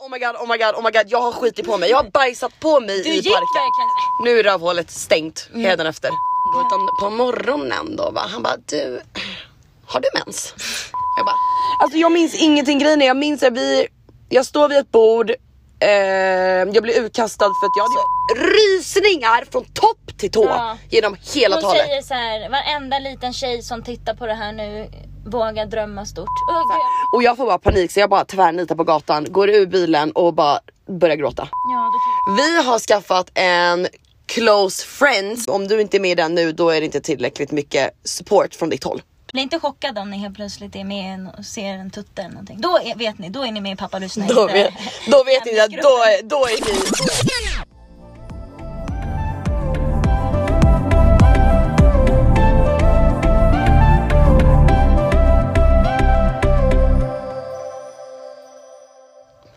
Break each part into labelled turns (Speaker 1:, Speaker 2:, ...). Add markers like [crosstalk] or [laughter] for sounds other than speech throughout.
Speaker 1: oh my god, oh my god, oh my god, jag har skitit på mig. Jag har bajsat på mig
Speaker 2: Du
Speaker 1: i
Speaker 2: gick
Speaker 1: parken.
Speaker 2: verkligen så-
Speaker 1: Nu är rövhålet stängt hädanefter. Utan på morgonen då va, han bara du, har du mens? Jag bara, alltså jag minns ingenting grejen är, jag minns att vi, jag står vid ett bord, eh, jag blir utkastad för att jag hade rysningar från topp till tå
Speaker 2: Ja.
Speaker 1: genom hela
Speaker 2: Hon
Speaker 1: talet.
Speaker 2: säger så här, varenda liten tjej som tittar på det här nu vågar drömma stort. Åh, gud.
Speaker 1: Och jag får bara panik så jag bara tvärnitar på gatan, går ur bilen och bara börjar gråta.
Speaker 2: Ja, det
Speaker 1: Vi har skaffat en close friends. Om du inte är med i den nu, då är det inte tillräckligt mycket support från ditt håll.
Speaker 2: Bli inte chockad om ni helt plötsligt är med i en- och ser en tutte eller någonting. Då är, vet ni, då är ni med i pappa lyssnar
Speaker 1: Då
Speaker 2: inte.
Speaker 1: vet, då vet ni att då, är- då är ni...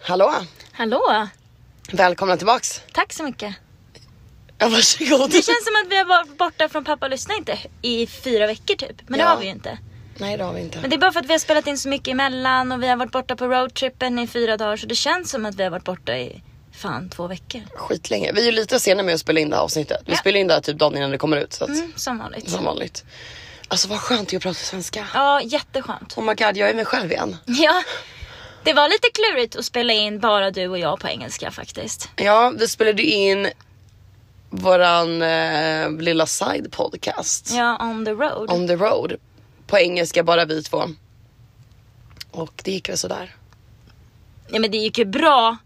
Speaker 1: Hallå!
Speaker 2: Hallå,
Speaker 1: Välkomna tillbaks!
Speaker 2: tack så mycket.
Speaker 1: Ja, Varsågod! [laughs]
Speaker 2: Det känns som att vi har varit borta från pappa lyssnar inte i fyra veckor typ. Men
Speaker 1: Ja.
Speaker 2: det har vi ju inte.
Speaker 1: Nej det har vi inte.
Speaker 2: Men det är bara för att vi har spelat in så mycket emellan och vi har varit borta på roadtrippen i fyra dagar så det känns som att vi har varit borta i fan två veckor.
Speaker 1: Skitlänge. Vi är ju lite sena med att spela in det här avsnittet. Vi
Speaker 2: Ja.
Speaker 1: spelar in det här typ dagen innan det kommer ut. Så att,
Speaker 2: Mm, som vanligt.
Speaker 1: Som vanligt. Alltså vad skönt det är att prata svenska.
Speaker 2: Ja, jätteskönt.
Speaker 1: Oh my god, jag är mig själv igen.
Speaker 2: [laughs] Ja, det var lite klurigt att spela in bara du och jag på engelska faktiskt.
Speaker 1: Ja, vi spelade ju in våran eh, lilla side podcast.
Speaker 2: Ja, on the road.
Speaker 1: On the road. På engelska bara vi två. Och det gick väl sådär.
Speaker 2: Ja men det gick ju bra.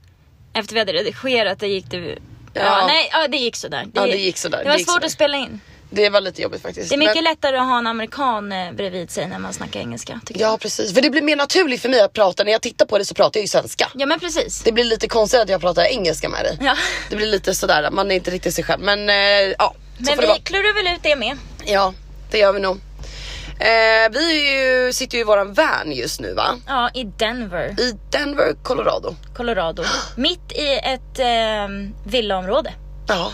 Speaker 2: Efter vi hade redigerat det gick det... Ja,
Speaker 1: Ja.
Speaker 2: nej, ja, det gick sådär.
Speaker 1: Ja, det gick sådär.
Speaker 2: Det
Speaker 1: Det
Speaker 2: var
Speaker 1: gick
Speaker 2: svårt
Speaker 1: sådär.
Speaker 2: att spela in.
Speaker 1: Det var lite jobbigt faktiskt.
Speaker 2: Det är mycket
Speaker 1: Men-
Speaker 2: lättare att ha en amerikan eh, bredvid sig när man snackar engelska. Tycker jag.
Speaker 1: Ja precis, för det blir mer naturligt för mig att prata. När jag tittar på det så pratar jag ju svenska.
Speaker 2: Ja men precis.
Speaker 1: Det blir lite konstigt att jag pratar engelska med dig.
Speaker 2: Ja.
Speaker 1: Det blir lite sådär, man är inte riktigt sig själv. Men eh, ja, så
Speaker 2: Men
Speaker 1: får det vara.
Speaker 2: vi klurar väl ut det med.
Speaker 1: Ja, det gör vi nog. Eh, vi är ju, sitter ju i våran van just nu va?
Speaker 2: Ja, i Denver,
Speaker 1: I Denver, Colorado. [gasps]
Speaker 2: Colorado. Mitt i ett eh, villaområde.
Speaker 1: Ja,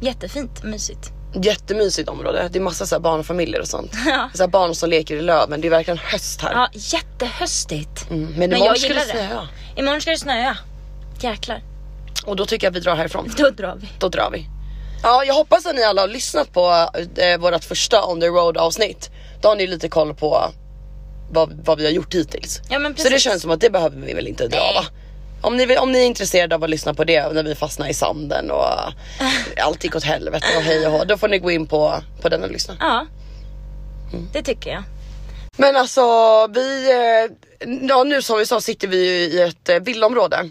Speaker 2: Jättefint, mysigt. [laughs]
Speaker 1: jättemysigt område. Det är massa så här barnfamiljer och sånt.
Speaker 2: Ja.
Speaker 1: Så här barn som leker i löven. Det är verkligen höst här.
Speaker 2: Ja, jättehöstigt.
Speaker 1: Mm, men
Speaker 2: Men
Speaker 1: imorgon
Speaker 2: jag
Speaker 1: ska
Speaker 2: gillar
Speaker 1: det
Speaker 2: det.
Speaker 1: snöa.
Speaker 2: Imorgon ska det snöa. Jäklar.
Speaker 1: Och då tycker jag att vi drar härifrån.
Speaker 2: Då drar vi.
Speaker 1: Då drar vi. Ja, jag hoppas att ni alla har lyssnat på eh, vårt första on the road avsnitt. Då har ni lite koll på vad, vad vi har gjort hittills.
Speaker 2: Ja, men
Speaker 1: Så det
Speaker 2: precis.
Speaker 1: känns som att det behöver vi väl inte dra
Speaker 2: Nej.
Speaker 1: va? Om ni, vill- om ni är intresserade av att lyssna på det när vi fastnar i sanden
Speaker 2: [laughs]
Speaker 1: och allt gick åt helvete och hej och hå, då får ni gå in på, på den och lyssna.
Speaker 2: Ja.
Speaker 1: Mm.
Speaker 2: Det tycker jag.
Speaker 1: Men alltså vi, eh, ja nu som vi sa sitter vi ju i ett eh, villaområde.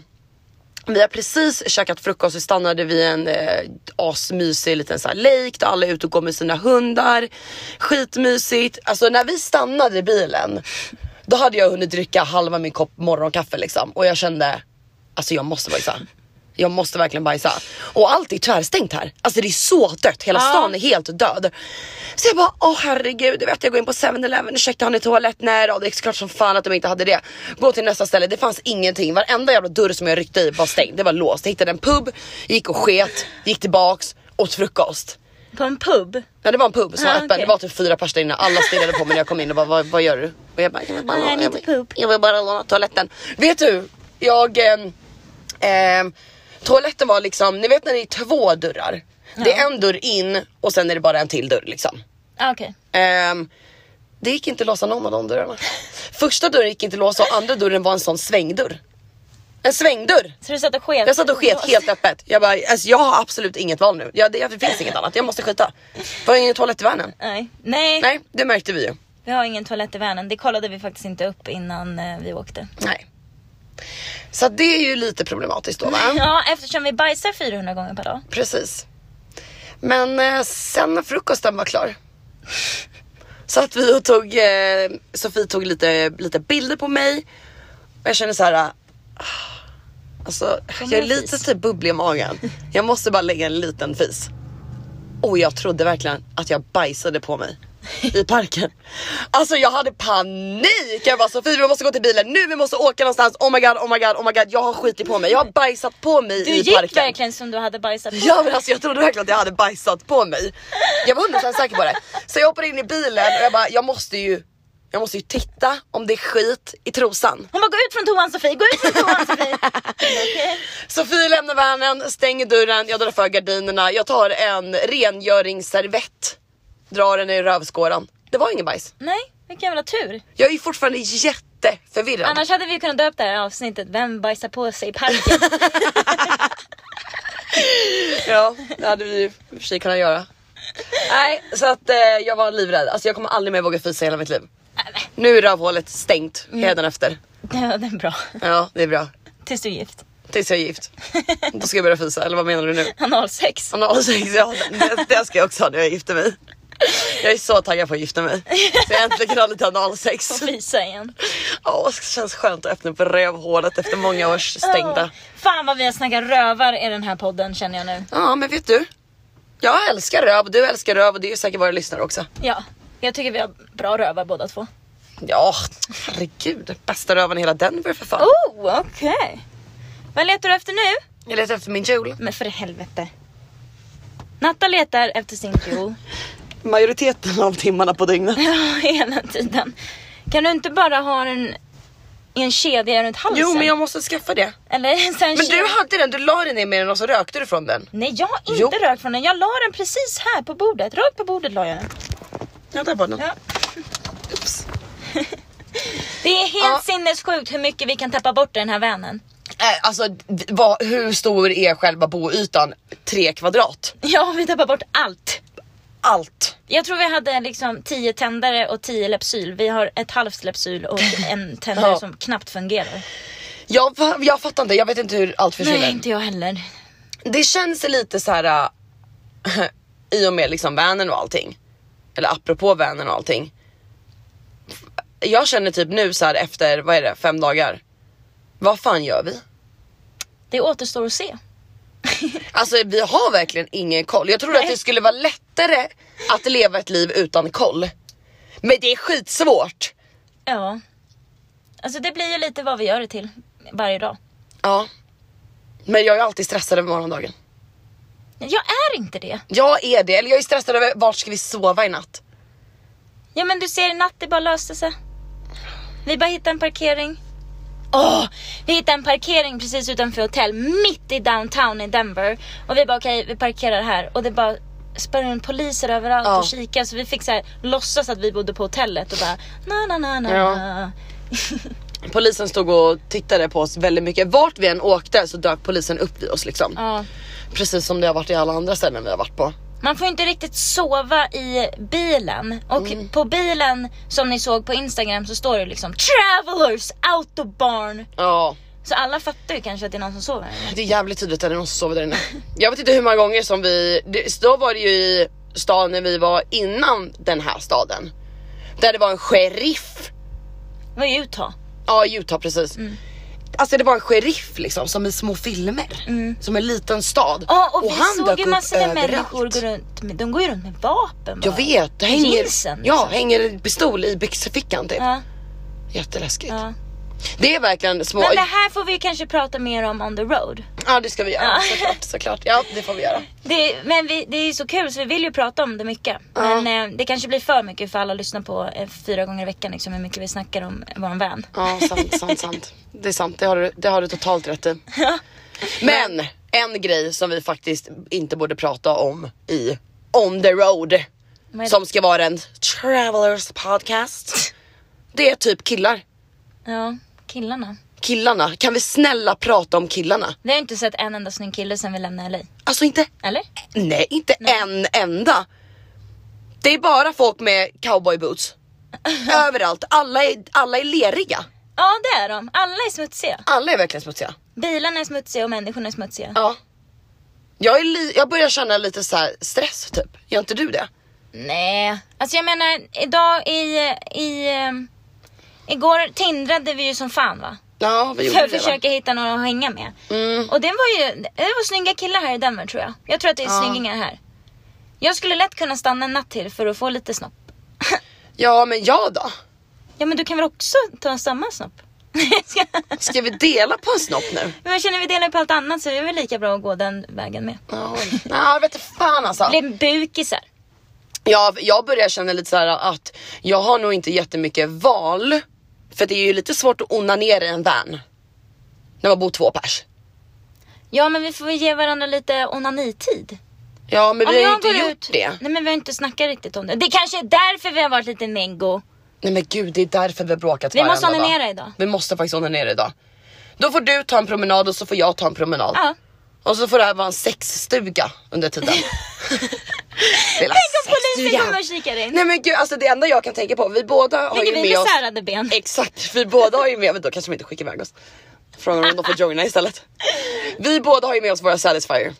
Speaker 1: Vi har precis käkat frukost, vi stannade vid en eh, asmysig liten så här lake där alla är ute och går med sina hundar. Skitmysigt. Alltså när vi stannade i bilen, då hade jag hunnit dricka halva min kopp morgonkaffe liksom. Och jag kände, alltså jag måste bajsa. Jag måste verkligen bajsa. Och allt är tvärstängt här. Alltså det är så dött, hela
Speaker 2: Ja.
Speaker 1: stan är helt död. Så jag bara, åh herregud, du vet jag går in på 7-Eleven, ursäkta har ni toalett? Nej då, det är klart som fan att de inte hade det. Gå till nästa ställe, det fanns ingenting. Varenda jävla dörr som jag ryckte i var stängd, det var låst. Jag hittade en pub, gick och sket, gick tillbaks, åt frukost.
Speaker 2: På en pub.
Speaker 1: Ja det var en pub som
Speaker 2: Ah,
Speaker 1: var öppen,
Speaker 2: okej.
Speaker 1: det var typ fyra pers där inne, alla stirrade på mig när jag kom in och bara vad, vad gör du? Och jag bara, jag vill bara,
Speaker 2: Ah, jag är
Speaker 1: låna- jag
Speaker 2: lite
Speaker 1: vill,
Speaker 2: poop.
Speaker 1: jag vill bara låna toaletten. Vet du, jag... ehm, ehm, toaletten var liksom, ni vet när det är två dörrar. Det är en dörr in och sen är det bara en till dörr liksom.
Speaker 2: Ah, Okej.
Speaker 1: Ehm, det gick inte att låsa någon av de dörrarna. Första dörren gick inte att låsa och andra dörren var en sån svängdörr. En svängdörr!
Speaker 2: Så du satt och sket?
Speaker 1: Jag satt och sket helt öppet. Jag bara, alltså jag har absolut inget val nu. Jag, det, det finns inget annat, jag måste skita. Var det ingen toalett i vanen?
Speaker 2: Nej. Nej.
Speaker 1: Nej, det märkte vi ju.
Speaker 2: vi har ingen toalett i vanen. Det kollade vi faktiskt inte upp innan eh, vi åkte.
Speaker 1: Nej. Så att det är ju lite problematiskt då va?
Speaker 2: [laughs] Ja, eftersom vi bajsar 400 gånger per dag.
Speaker 1: Precis. Men eh, sen när frukosten var klar. Så att vi och tog, eh, Sofie tog lite, lite bilder på mig. Och jag känner så här. ah, Alltså jag är
Speaker 2: en
Speaker 1: lite
Speaker 2: fis.
Speaker 1: typ bubblig i magen. Jag måste bara lägga en liten fis. Och jag trodde verkligen att jag bajsade på mig i parken. Alltså jag hade panik. Jag bara Sofie vi måste gå till bilen nu, vi måste åka någonstans. Oh my god, oh my god, oh my god. Jag har skitit på mig. Jag har bajsat på mig
Speaker 2: Du
Speaker 1: i
Speaker 2: gick
Speaker 1: parken.
Speaker 2: verkligen som du hade bajsat på.
Speaker 1: Ja men alltså jag trodde verkligen att jag hade bajsat på mig. Jag var 100% säker på det. Så jag hoppade in i bilen och jag bara, jag måste ju jag måste ju titta om det är skit i trosan.
Speaker 2: Hon bara gå ut från toan Sofie, gå ut
Speaker 1: [laughs]
Speaker 2: från toan Sofie. Okej.
Speaker 1: Sofie lämnar värnen, stänger dörren, jag drar för gardinerna, jag tar en rengöringsservett, drar den i rövskåran. Det var ingen bajs.
Speaker 2: Nej, vilken jävla tur.
Speaker 1: Jag är ju fortfarande jätteförvirrad.
Speaker 2: Annars hade vi kunnat döpa det här avsnittet Vem bajsar på sig
Speaker 1: [laughs]
Speaker 2: i parken?
Speaker 1: Ja, det hade vi ju i och för sig kunnat göra. Nej, så att eh, jag var livrädd. Alltså jag kommer aldrig mer våga fisa i hela mitt liv. Nu är rövhålet stängt hädanefter.
Speaker 2: ja, den är bra.
Speaker 1: Ja, det är bra.
Speaker 2: Tills du är gift. [laughs]
Speaker 1: Tills jag är gift. Då ska jag börja fisa, eller vad menar du nu?
Speaker 2: Analsex.
Speaker 1: Analsex, ja det, det ska jag också ha när jag gifter mig. Jag är så taggad på att gifta mig. Så jag äntligen har lite analsex.
Speaker 2: Och fisa igen.
Speaker 1: Åh, det känns skönt att öppna upp rövhålet efter många års
Speaker 2: Åh,
Speaker 1: stängda.
Speaker 2: Oh, Fan vad vi har snackat rövar i den här podden känner jag nu.
Speaker 1: Ja men vet du? Jag älskar röv, du älskar röv och det är ju säkert våra lyssnare också.
Speaker 2: Ja, jag tycker vi har bra rövar båda två.
Speaker 1: Ja, herregud. Bästa röven i hela Denver för fan.
Speaker 2: Oh, okej. Vad letar du efter nu?
Speaker 1: Jag letar efter min kjol.
Speaker 2: Men för helvete. Natta letar efter sin
Speaker 1: [laughs]
Speaker 2: kjol [laughs]
Speaker 1: Majoriteten av timmarna på dygnet.
Speaker 2: hela tiden. Kan du inte bara ha den i en kedja runt halsen?
Speaker 1: Jo men jag måste skaffa det.
Speaker 2: Eller [laughs] sen
Speaker 1: Men du hade den, du la den i med den och så rökte du från den.
Speaker 2: Nej jag har inte
Speaker 1: Jo.
Speaker 2: rökt från den, jag la den precis här på bordet. Rakt på bordet la jag den.
Speaker 1: Ja där var den.
Speaker 2: Ja.
Speaker 1: Ups.
Speaker 2: Det är
Speaker 1: Ja.
Speaker 2: helt sinnessjukt hur mycket vi kan tappa bort i den här vänen.
Speaker 1: Äh, alltså d- vad, hur stor är själva boytan? Tre kvadrat.
Speaker 2: Ja vi tappar bort allt.
Speaker 1: Allt.
Speaker 2: Jag tror vi hade liksom 10 tändare och 10 Lepsyl. Vi har ett halvt Lepsyl och [laughs] en tändare
Speaker 1: Ja.
Speaker 2: som knappt fungerar.
Speaker 1: Jag, fa- jag fattar inte, jag vet inte hur allt
Speaker 2: Nej,
Speaker 1: försvinner.
Speaker 2: inte jag heller.
Speaker 1: Det känns lite så här äh, [laughs] i och med liksom vänen och allting. Eller apropå vänen och allting. Jag känner typ nu så här efter, vad är det, fem dagar. Vad fan gör vi?
Speaker 2: Det återstår att se.
Speaker 1: Alltså vi har verkligen ingen koll. Jag trodde att det skulle vara lättare att leva ett liv utan koll. Men det är skitsvårt.
Speaker 2: Ja. Alltså det blir ju lite vad vi gör det till varje dag.
Speaker 1: Ja. Men jag är alltid stressad över morgondagen.
Speaker 2: Jag är inte det.
Speaker 1: Jag är det, eller jag är stressad över vart ska vi sova i natt?
Speaker 2: Ja men du ser i natt, det bara löste sig. Vi bara hittade en parkering. Åh, vi hittade en parkering precis utanför hotell, mitt i downtown i Denver. Och vi bara okej, vi parkerar här. Och det bara sprang runt poliser överallt
Speaker 1: Ja.
Speaker 2: och kikade. Så vi fick så här, låtsas att vi bodde på hotellet och bara na na na na.
Speaker 1: Ja.
Speaker 2: na.
Speaker 1: Polisen stod och tittade på oss väldigt mycket. Vart vi än åkte så dök polisen upp vid oss liksom.
Speaker 2: Ja.
Speaker 1: Precis som det har varit i alla andra ställen vi har varit på.
Speaker 2: Man får inte riktigt sova i bilen. Och
Speaker 1: Mm.
Speaker 2: på bilen som ni såg på Instagram så står det liksom Travelers Autobarn.
Speaker 1: Ja,
Speaker 2: Så alla fattar ju kanske att det är någon som sover. här.
Speaker 1: det är jävligt tydligt att det är någon som sover där inne. Jag vet inte hur många gånger som vi, det, då var det ju i stan när vi var innan den här staden. Där det var en sheriff.
Speaker 2: Det var ju Utah.
Speaker 1: Ja, i Utah precis.
Speaker 2: Mm.
Speaker 1: Alltså det var en sheriff liksom som i små filmer. Som en liten stad.
Speaker 2: Mm. Ja och, vi såg
Speaker 1: dök
Speaker 2: ju
Speaker 1: upp
Speaker 2: massor med
Speaker 1: överallt.
Speaker 2: människor gå runt med, de går ju runt med vapen
Speaker 1: Jag
Speaker 2: bara.
Speaker 1: vet, det hänger,
Speaker 2: Jeansen,
Speaker 1: ja,
Speaker 2: liksom.
Speaker 1: hänger en pistol i byxfickan typ.
Speaker 2: Ja,
Speaker 1: Jätteläskigt.
Speaker 2: ja.
Speaker 1: Det är verkligen små...
Speaker 2: Men det här får vi ju kanske prata mer om on the road.
Speaker 1: Ja det ska vi göra
Speaker 2: Ja.
Speaker 1: såklart, såklart. Ja det får vi göra.
Speaker 2: Det, men vi, det är ju så kul så vi vill ju prata om det mycket.
Speaker 1: Ja.
Speaker 2: Men eh, det kanske blir för mycket för alla lyssnar på eh, fyra gånger i veckan liksom, hur mycket vi snackar om våran vän.
Speaker 1: Ja sant, sant, sant. Det är sant, det har du, det har du totalt rätt i. Men en grej som vi faktiskt inte borde prata om i On the road
Speaker 2: [laughs] Vad är det?
Speaker 1: som ska vara en travelers podcast. Det är typ killar.
Speaker 2: Ja, killarna.
Speaker 1: Killarna, kan vi snälla prata om killarna?
Speaker 2: Vi har ju inte sett en enda snygg kille sen vi lämnade LA.
Speaker 1: Alltså inte
Speaker 2: Eller?
Speaker 1: Nej, inte en enda. Det är bara folk med cowboyboots. [laughs] Överallt. Alla är, alla är leriga.
Speaker 2: Ja det är de. Alla är smutsiga.
Speaker 1: Alla är verkligen smutsiga.
Speaker 2: Bilarna är smutsiga och människorna är smutsiga.
Speaker 1: Ja. Jag, är li- jag börjar känna lite så här stress typ. Gör inte du det?
Speaker 2: Nej, alltså jag menar idag i, i ehm, Igår tindrade vi ju som fan va?
Speaker 1: Ja, vi gjorde
Speaker 2: För att
Speaker 1: det va?
Speaker 2: försöka hitta några att hänga med.
Speaker 1: Mm.
Speaker 2: Och det var ju, det var snygga killar här i Denver tror jag. Jag tror att det är
Speaker 1: Ja.
Speaker 2: snyggingar här. Jag skulle lätt kunna stanna en natt till för att få lite snopp.
Speaker 1: Ja, men jag då?
Speaker 2: Ja men du kan väl också ta en
Speaker 1: [laughs]
Speaker 2: samma snopp?
Speaker 1: Ska vi dela på en snopp nu?
Speaker 2: men jag känner vi delar ju på allt annat så det är väl lika bra att gå den vägen med.
Speaker 1: Ja, nej, jag vet inte fan alltså.
Speaker 2: Bli bukisar.
Speaker 1: jag, jag börjar känna lite så här att jag har nog inte jättemycket val. För det är ju lite svårt att onanera i en van. När man bor två pers.
Speaker 2: Ja men vi får väl ge varandra lite onanitid.
Speaker 1: Ja men
Speaker 2: Om
Speaker 1: vi har
Speaker 2: jag
Speaker 1: ju inte
Speaker 2: går
Speaker 1: gjort
Speaker 2: ut-
Speaker 1: det.
Speaker 2: Nej men vi har inte snackat riktigt om det. Det kanske är därför vi har varit lite mengo.
Speaker 1: Nej men gud det är därför vi har bråkat
Speaker 2: Vi måste
Speaker 1: varenda dag.
Speaker 2: onanera idag.
Speaker 1: Vi måste faktiskt onanera idag. Då får du ta en promenad och så får jag ta en promenad.
Speaker 2: Ja.
Speaker 1: Och så får det här vara en sexstuga under
Speaker 2: [laughs]
Speaker 1: tiden. Lilla
Speaker 2: Tänk om polisen
Speaker 1: sexstugan.
Speaker 2: kommer och kikar in.
Speaker 1: Nej men gud alltså det enda jag kan tänka på, vi båda har
Speaker 2: Ligger
Speaker 1: ju
Speaker 2: vi
Speaker 1: med
Speaker 2: med
Speaker 1: oss
Speaker 2: särade ben?
Speaker 1: Exakt, vi båda har ju med, men då kanske de inte skickar iväg oss. Frågar om de får joina istället. Vi båda har ju med oss våra Satisfyer.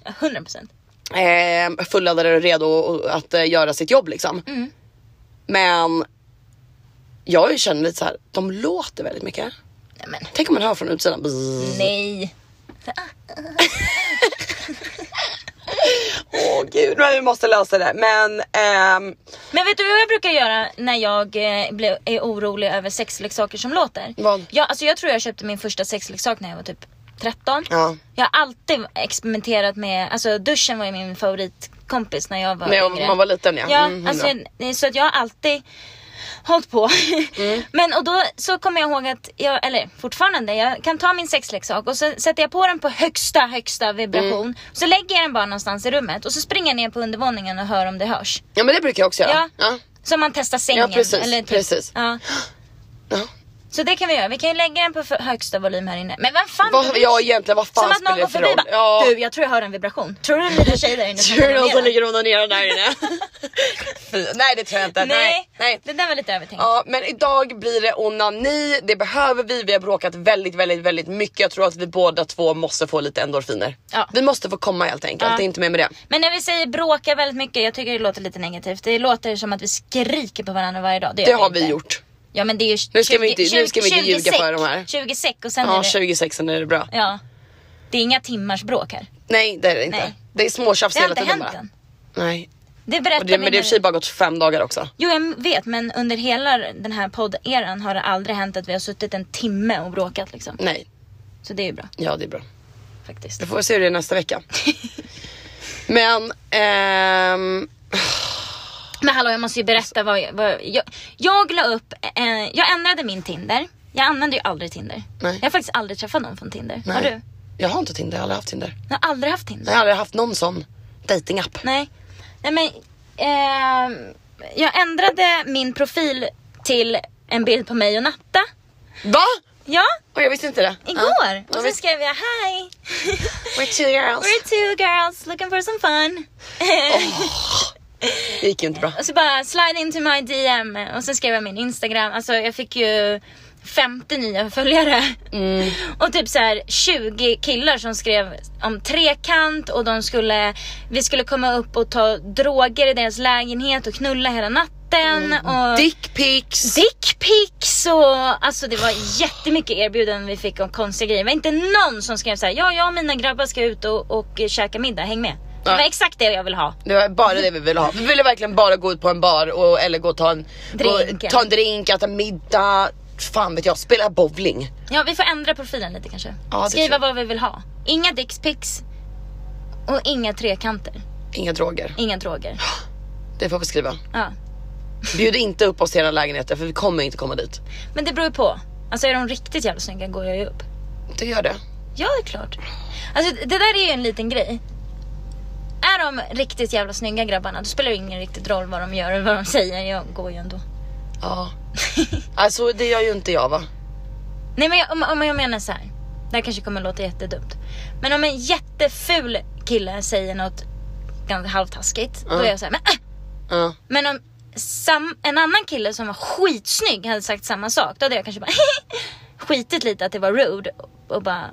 Speaker 2: 100%.
Speaker 1: Eh, fulladdade och redo och- att eh, göra sitt jobb liksom.
Speaker 2: Mm.
Speaker 1: Men jag känner lite så här, de låter väldigt mycket.
Speaker 2: Nej men
Speaker 1: Tänk om man hör från utsidan.
Speaker 2: Mm.
Speaker 1: Bzzz.
Speaker 2: nej.
Speaker 1: Åh gud, men vi måste lösa det. Men ehm,
Speaker 2: Men vet du vad jag brukar göra när jag eh, blir- är orolig över sexleksaker som låter?
Speaker 1: Vad?
Speaker 2: Jag, alltså jag tror jag köpte min första sexleksak när jag var typ 13.
Speaker 1: ja.
Speaker 2: Jag har alltid experimenterat med, alltså duschen var ju min favoritkompis när jag var
Speaker 1: När jag-
Speaker 2: yngre.
Speaker 1: man var liten ja.
Speaker 2: Ja,
Speaker 1: Mm,
Speaker 2: alltså,
Speaker 1: hundra.
Speaker 2: jag- så att jag har alltid hållit på. [laughs]
Speaker 1: Mm.
Speaker 2: Men och då så kommer jag ihåg att jag, eller fortfarande, jag kan ta min sexleksak och så sätter jag på den på högsta, högsta vibration.
Speaker 1: Mm.
Speaker 2: Så lägger jag den bara någonstans i rummet och så springer jag ner på undervåningen och hör om det hörs.
Speaker 1: ja men det brukar jag också göra.
Speaker 2: Ja.
Speaker 1: Ja.
Speaker 2: Så man testar sängen.
Speaker 1: Ja, precis,
Speaker 2: eller typ-
Speaker 1: precis.
Speaker 2: Ja.
Speaker 1: Ja.
Speaker 2: Så det kan vi göra, vi kan ju lägga den på för högsta volym här inne. Men vem fan
Speaker 1: Vad, ja egentligen vad
Speaker 2: Som
Speaker 1: fan
Speaker 2: att någon
Speaker 1: spelar
Speaker 2: går
Speaker 1: det för
Speaker 2: förbi
Speaker 1: roll?
Speaker 2: bara,
Speaker 1: Ja.
Speaker 2: du jag tror jag hör en vibration. Tror du det är en liten tjej där inne som
Speaker 1: Tur någon som
Speaker 2: promenerar?"
Speaker 1: ligger och onanerar där inne. Fy, [laughs] nej det tror jag inte.
Speaker 2: Nej,
Speaker 1: Nej. nej.
Speaker 2: det där var lite övertänkt.
Speaker 1: Ja men idag blir det onani, det behöver vi. Vi har bråkat väldigt väldigt väldigt mycket. Jag tror att vi båda två måste få lite endorfiner.
Speaker 2: Ja.
Speaker 1: Vi måste få komma helt enkelt,
Speaker 2: Ja.
Speaker 1: det är inte mer med det.
Speaker 2: Men när vi säger bråka väldigt mycket, jag tycker det låter lite negativt. Det låter som att vi skriker på varandra varje dag. Det, gör
Speaker 1: Det
Speaker 2: vi
Speaker 1: har vi
Speaker 2: inte.
Speaker 1: gjort.
Speaker 2: Ja men det är ju
Speaker 1: Nu ska vi inte- nu ska vi inte
Speaker 2: 20
Speaker 1: ljuga
Speaker 2: säck.
Speaker 1: för de här.
Speaker 2: 20 säck och sen
Speaker 1: Ja
Speaker 2: är det,
Speaker 1: 26 är det bra.
Speaker 2: ja. Det är inga timmars bråk här.
Speaker 1: Nej det är det inte.
Speaker 2: Nej.
Speaker 1: Det är småtjafs
Speaker 2: Det har
Speaker 1: hela
Speaker 2: inte
Speaker 1: tiden
Speaker 2: hänt
Speaker 1: bara.
Speaker 2: än.
Speaker 1: Nej.
Speaker 2: Det berättar
Speaker 1: Och det,
Speaker 2: vi
Speaker 1: men det har i och för
Speaker 2: när-
Speaker 1: sig bara gått fem dagar också.
Speaker 2: Jo jag vet men under hela den här podderan har det aldrig hänt att vi har suttit en timme och bråkat liksom.
Speaker 1: Nej,
Speaker 2: Så det är ju bra
Speaker 1: ja det är bra.
Speaker 2: faktiskt.
Speaker 1: Då får vi se hur det är nästa
Speaker 2: [laughs]
Speaker 1: vecka. men ehm,
Speaker 2: Men hallå jag måste ju berätta vad jag... Vad jag, jag la upp, eh, jag ändrade min Tinder. Jag använder ju aldrig Tinder.
Speaker 1: Nej.
Speaker 2: Jag har faktiskt aldrig träffat någon från Tinder. Har
Speaker 1: Nej.
Speaker 2: du?
Speaker 1: jag har inte Tinder, jag har aldrig haft Tinder.
Speaker 2: Jag har aldrig haft Tinder.
Speaker 1: Jag har aldrig haft någon sån datingapp.
Speaker 2: Nej. Nej men, ehm, jag ändrade min profil till en bild på mig och Natta.
Speaker 1: Va?
Speaker 2: Ja,
Speaker 1: Och jag visste inte det.
Speaker 2: igår.
Speaker 1: Ja.
Speaker 2: Och så skrev
Speaker 1: [laughs]
Speaker 2: jag hi.
Speaker 1: We're two girls.
Speaker 2: We're two girls looking for some fun.
Speaker 1: Det gick ju inte bra.
Speaker 2: och så Alltså bara slide into my DM och sen skrev jag min Instagram. Alltså jag fick ju 50 nya följare. Och typ så här 20 killar som skrev om trekant och de skulle, vi skulle komma upp och ta droger i deras lägenhet och knulla hela natten. Och
Speaker 1: Dickpics.
Speaker 2: dickpics och alltså det var jättemycket erbjudanden vi fick om konstiga grejer. Det var inte någon som skrev så här, ja jag och mina grabbar ska ut och, och käka middag, häng med. Det
Speaker 1: Ja.
Speaker 2: var exakt det jag ville ha.
Speaker 1: Det var bara det vi ville ha. Vi ville verkligen bara gå ut på en bar och, eller gå och ta en
Speaker 2: Drink.
Speaker 1: gå- ta en drink, äta middag, fan vet jag, spela bowling.
Speaker 2: Ja vi får ändra profilen lite kanske.
Speaker 1: Ja, det tror
Speaker 2: Skriva
Speaker 1: jag.
Speaker 2: vad vi vill ha. Inga dickpics och inga trekanter.
Speaker 1: Inga droger.
Speaker 2: Inga droger.
Speaker 1: Det får vi skriva.
Speaker 2: Ja.
Speaker 1: Bjud inte upp oss till era lägenheter för vi kommer inte komma dit.
Speaker 2: Men det beror ju på. Alltså är de riktigt jävla snygga går jag ju upp.
Speaker 1: Det gör det.
Speaker 2: Ja det är klart. Alltså det där är ju en liten grej. Är de riktigt jävla snygga grabbarna då spelar det ingen riktigt roll vad de gör eller vad de säger. Jag går ju ändå. [laughs]
Speaker 1: Ja. Alltså det gör ju inte jag va?
Speaker 2: Nej men jag, om, om jag menar så här. Det här kanske kommer låta jättedumt. Men om en jätteful kille säger något ganska halvtaskigt. Då
Speaker 1: Mm.
Speaker 2: är jag så här, men äh!
Speaker 1: Ja.
Speaker 2: Men om sam- en annan kille som var skitsnygg hade sagt samma sak, då hade jag kanske bara [laughs] skitit lite att det var rude och bara,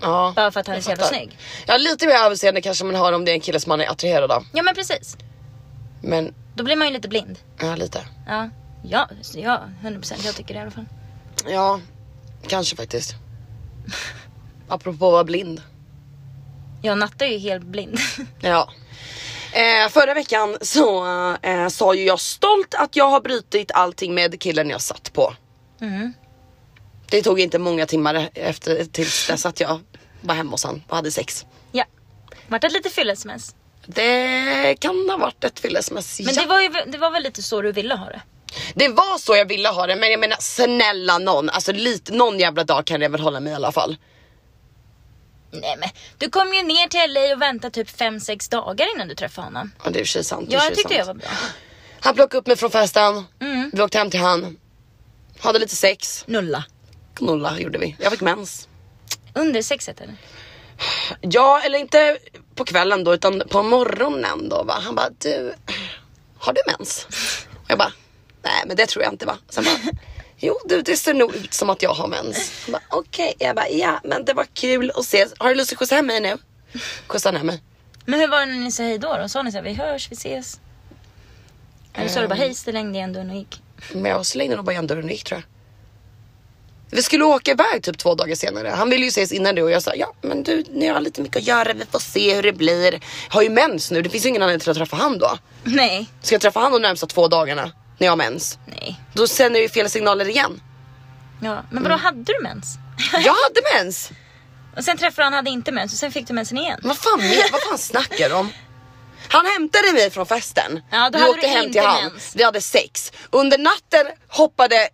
Speaker 1: ja.
Speaker 2: bara för att han är
Speaker 1: jag
Speaker 2: så jävla
Speaker 1: fattar.
Speaker 2: snygg.
Speaker 1: Ja lite mer överseende kanske man har om det är en kille som man är attraherad av.
Speaker 2: Ja men precis,
Speaker 1: Men
Speaker 2: då blir man ju lite blind.
Speaker 1: ja lite.
Speaker 2: Ja, ja, så ja 100% jag tycker det i alla fall.
Speaker 1: Ja, kanske faktiskt. Apropå att vara blind.
Speaker 2: Jag och Natta är ju helt blind. [laughs]
Speaker 1: Ja. Eh, förra veckan så eh, sa ju jag stolt att jag har brutit allting med killen jag satt på.
Speaker 2: Mm.
Speaker 1: Det tog inte många timmar efter tills dess att jag var hemma hos han och hade sex.
Speaker 2: Ja, vart det lite fylles sms
Speaker 1: Det kan ha varit ett fyllesmäss.
Speaker 2: Men
Speaker 1: ja.
Speaker 2: det, var ju, det var väl lite så du ville ha det?
Speaker 1: Det var så jag ville ha det men jag menar snälla någon, alltså lite, någon jävla dag kan jag väl hålla mig i alla fall.
Speaker 2: Nej men, du kom ju ner till LA och väntade typ 5-6 dagar innan du träffade honom.
Speaker 1: Ja det är i och för sig sant. det är
Speaker 2: Ja,
Speaker 1: i och
Speaker 2: jag
Speaker 1: för sig
Speaker 2: tyckte jag
Speaker 1: sant.
Speaker 2: var bra.
Speaker 1: Han plockade upp mig från festen,
Speaker 2: Mm.
Speaker 1: vi åkte hem till han. Hade lite sex,
Speaker 2: Nulla.
Speaker 1: knulla gjorde vi. Jag fick mens.
Speaker 2: Under sexet eller?
Speaker 1: Ja eller inte på kvällen då utan på morgonen då va. Han bara du, har du mens? Och jag bara, nej men det tror jag inte va. Sen bara, jo du det ser nog ut som att jag har mens. Han bara okej, jag bara ja men det var kul att ses. Har du lust att skjutsa hem mig nu? Skjutsade han hem mig.
Speaker 2: Men hur var det när ni sa hej då? då? Sa ni så här, vi hörs, vi ses? Eller sa du bara
Speaker 1: Ehm.
Speaker 2: hej, stängde igen dörren och gick?
Speaker 1: Men jag slängde nog bara igen dörren och gick tror jag. Vi skulle åka iväg typ två dagar senare. Han ville ju ses innan det och jag sa ja men du nu har jag lite mycket att göra. Vi får se hur det blir. Jag har ju mens nu. Det finns ju ingen anledning till att träffa han då.
Speaker 2: Nej.
Speaker 1: Ska jag träffa han de närmsta två dagarna när jag har mens?
Speaker 2: Nej.
Speaker 1: Då sänder jag ju fel signaler igen.
Speaker 2: Ja, men
Speaker 1: Mm.
Speaker 2: vadå hade du mens?
Speaker 1: Jag hade mens!
Speaker 2: Och sen träffade han, hade inte mens och sen fick du mensen igen.
Speaker 1: Vad fan, men- vad fan snackar du om? Han hämtade mig från festen.
Speaker 2: Ja,
Speaker 1: vi
Speaker 2: då hade
Speaker 1: åkte
Speaker 2: du
Speaker 1: hem
Speaker 2: inte
Speaker 1: till han.
Speaker 2: mens.
Speaker 1: Vi hade sex. Under natten hoppade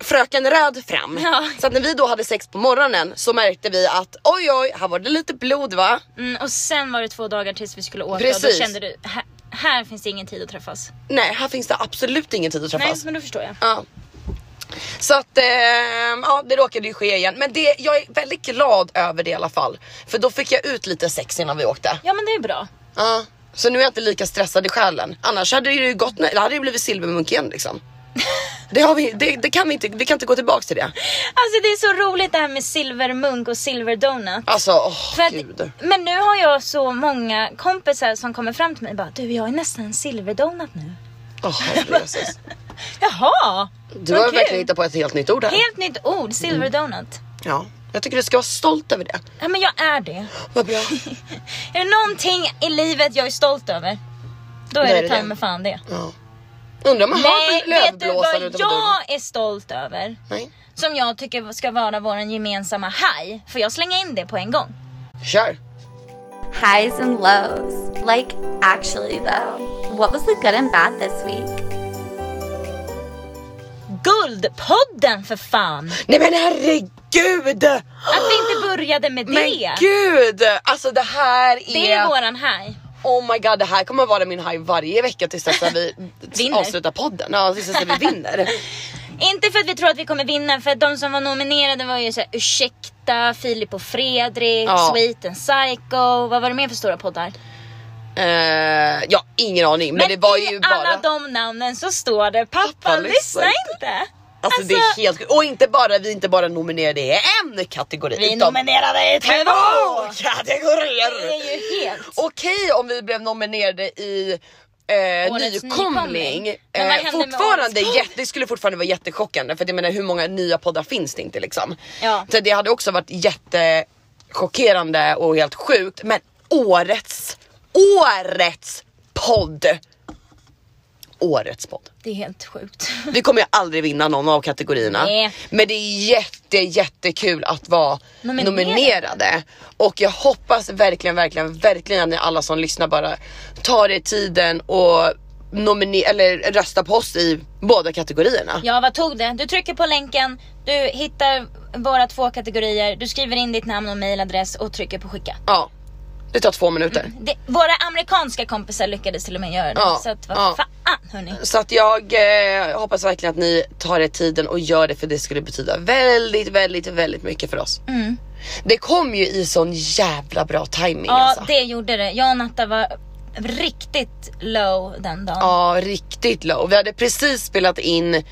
Speaker 1: fröken Röd fram.
Speaker 2: Ja.
Speaker 1: Så att när vi då hade sex på morgonen så märkte vi att oj oj, här var det lite blod va?
Speaker 2: Mm, och sen var det två dagar tills vi skulle åka och
Speaker 1: Precis.
Speaker 2: då kände du, här, här finns det ingen tid att träffas.
Speaker 1: Nej, här finns det absolut ingen tid att
Speaker 2: Nej,
Speaker 1: träffas.
Speaker 2: men då förstår jag.
Speaker 1: Ja. Så att ehm, ja, det råkade ju ske igen. Men det, jag är väldigt glad över det i alla fall. För då fick jag ut lite sex innan vi åkte.
Speaker 2: Ja men det är bra.
Speaker 1: Ja. Så nu är jag inte lika stressad i själen. Annars hade det ju gått, det hade ju blivit silvermunk igen
Speaker 2: [laughs]
Speaker 1: liksom. Det, har vi, det, det kan vi inte, vi kan inte gå tillbaks till det.
Speaker 2: Alltså det är så roligt det här med silvermunk och silverdonut.
Speaker 1: Alltså, åh
Speaker 2: För att,
Speaker 1: gud.
Speaker 2: men nu har jag så många kompisar som kommer fram till mig och bara du jag är nästan en silverdonut nu.
Speaker 1: Åh
Speaker 2: [laughs]
Speaker 1: herre Jesus.
Speaker 2: Jaha!
Speaker 1: Du
Speaker 2: vad
Speaker 1: har
Speaker 2: kul.
Speaker 1: verkligen hittat på ett helt nytt ord här.
Speaker 2: Helt nytt ord, silverdonut.
Speaker 1: Ja, jag tycker du ska vara stolt över det.
Speaker 2: Ja men jag är det.
Speaker 1: Vad
Speaker 2: [laughs]
Speaker 1: bra.
Speaker 2: Är det någonting i livet jag är stolt över? Då
Speaker 1: Då
Speaker 2: är det ta mig fan det.
Speaker 1: Ja. Undrar om man
Speaker 2: Nej,
Speaker 1: har
Speaker 2: vet du
Speaker 1: lövblåsare
Speaker 2: vad
Speaker 1: utanför dörren?
Speaker 2: jag är stolt över?
Speaker 1: Nej,
Speaker 2: Som jag tycker ska vara vår gemensamma haj. Får jag slänga in det på en gång?
Speaker 1: kör.
Speaker 3: Highs and lows. Like, actually, though, what was the good and bad this week?
Speaker 2: Guldpodden för fan!
Speaker 1: Nej men herregud!
Speaker 2: Att vi inte började med
Speaker 1: Men
Speaker 2: det.
Speaker 1: gud! Alltså det här är...
Speaker 2: Det är våran haj.
Speaker 1: Oh my god, det här kommer vara min high varje vecka tills dess att vi
Speaker 2: Vinner.
Speaker 1: avslutar podden. Ja, tills dess att vi vinner.
Speaker 2: Inte för att vi tror att vi kommer vinna, för att de som var nominerade var ju såhär Ursäkta, Filip och Fredrik,
Speaker 1: Ja.
Speaker 2: Sweet and Psycho, vad var det mer för stora poddar?
Speaker 1: Eh, ja, ingen aning. Men, det var ju
Speaker 2: i
Speaker 1: bara...
Speaker 2: alla de namnen så står det pappa,
Speaker 1: Pappa lyssnar
Speaker 2: lyssna inte.
Speaker 1: Alltså, det är helt Och inte bara, vi är inte bara nominerade i en kategori.
Speaker 2: Vi
Speaker 1: utan
Speaker 2: nominerade i
Speaker 1: två
Speaker 2: två! Det
Speaker 1: kategorier!
Speaker 2: är ju helt...
Speaker 1: Okej om vi blev nominerade i Eh,
Speaker 2: Årets
Speaker 1: nykomling,
Speaker 2: nykomling. Men vad
Speaker 1: eh,
Speaker 2: hände med
Speaker 1: fortfarande
Speaker 2: årets podd?
Speaker 1: jätte, det skulle fortfarande vara jättechockande för att jag menar hur många nya poddar finns det inte liksom.
Speaker 2: Ja.
Speaker 1: Så det hade också varit jättechockerande och helt sjukt men årets, årets podd! Årets podd.
Speaker 2: Det är helt sjukt.
Speaker 1: Vi kommer ju aldrig vinna någon av kategorierna.
Speaker 2: Nej.
Speaker 1: Men det är jätte jättekul att vara nominerade.
Speaker 2: Nominerade.
Speaker 1: Och jag hoppas verkligen, verkligen, verkligen att ni alla som lyssnar bara tar er tiden och nomine- eller rösta på oss i båda kategorierna.
Speaker 2: Ja, vad tog det? Du trycker på länken, du hittar våra två kategorier, du skriver in ditt namn och mailadress och trycker på skicka.
Speaker 1: Ja, det tar två minuter.
Speaker 2: Det, våra amerikanska kompisar lyckades till och med göra det.
Speaker 1: Ja,
Speaker 2: Så att vad
Speaker 1: ja. Alltså.
Speaker 2: fan hörni.
Speaker 1: Så att jag eh, hoppas verkligen att ni tar er tiden och gör det för det skulle betyda väldigt, väldigt, väldigt mycket för oss.
Speaker 2: Mm.
Speaker 1: Det kom ju i sån jävla bra timing
Speaker 2: Ja,
Speaker 1: alltså.
Speaker 2: det gjorde det. Jag och Natta var riktigt low den dagen.
Speaker 1: Ja, riktigt low. Vi hade precis spelat in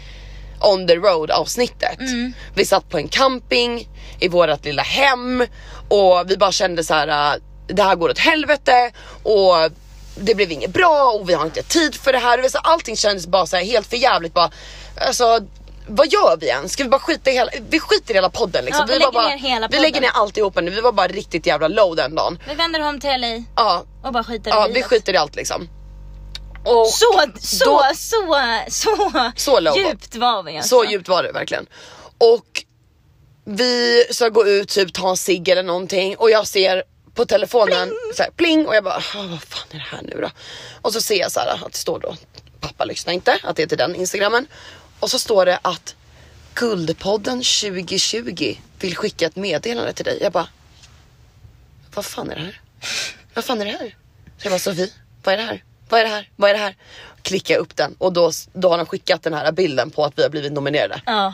Speaker 1: on the road avsnittet.
Speaker 2: Mm.
Speaker 1: Vi satt på en camping i vårat lilla hem och vi bara kände så här, äh, det här går åt helvete och det blev inget bra och vi har inte tid för det här. Och så Allting kändes bara så här helt för jävligt bara, alltså vad gör vi ens? Ska vi bara skita i hela, vi skiter i hela podden liksom.
Speaker 2: Ja,
Speaker 1: var
Speaker 2: vi lägger
Speaker 1: bara,
Speaker 2: ner hela
Speaker 1: Vi lägger
Speaker 2: podden.
Speaker 1: ner alltihopa nu, vi var bara riktigt jävla low den dagen.
Speaker 2: Vi vänder hem till LA
Speaker 1: Ja,
Speaker 2: och bara skiter
Speaker 1: ja
Speaker 2: i
Speaker 1: vi
Speaker 2: livet.
Speaker 1: skiter i allt liksom. Och-
Speaker 2: Så, så,
Speaker 1: då-
Speaker 2: så, så,
Speaker 1: Så low var-
Speaker 2: djupt var vi alltså.
Speaker 1: Så djupt var det verkligen. Och vi ska gå ut, typ ta en cigg eller någonting och jag ser på telefonen, så här, pling och jag bara, "Ah, vad fan är det här nu då? Och så ser jag så här att det står då, pappa lyssnar inte, att det är till den instagrammen. Och så står det att Guldpodden 2020 vill skicka ett meddelande till dig. Jag bara, vad fan är det här? Vad fan är det här? Så jag bara, Sofie, vad är det här? Vad är det här? Vad är det här? Klicka upp den och då, då har de skickat den här bilden på att vi har blivit nominerade.
Speaker 2: Ja.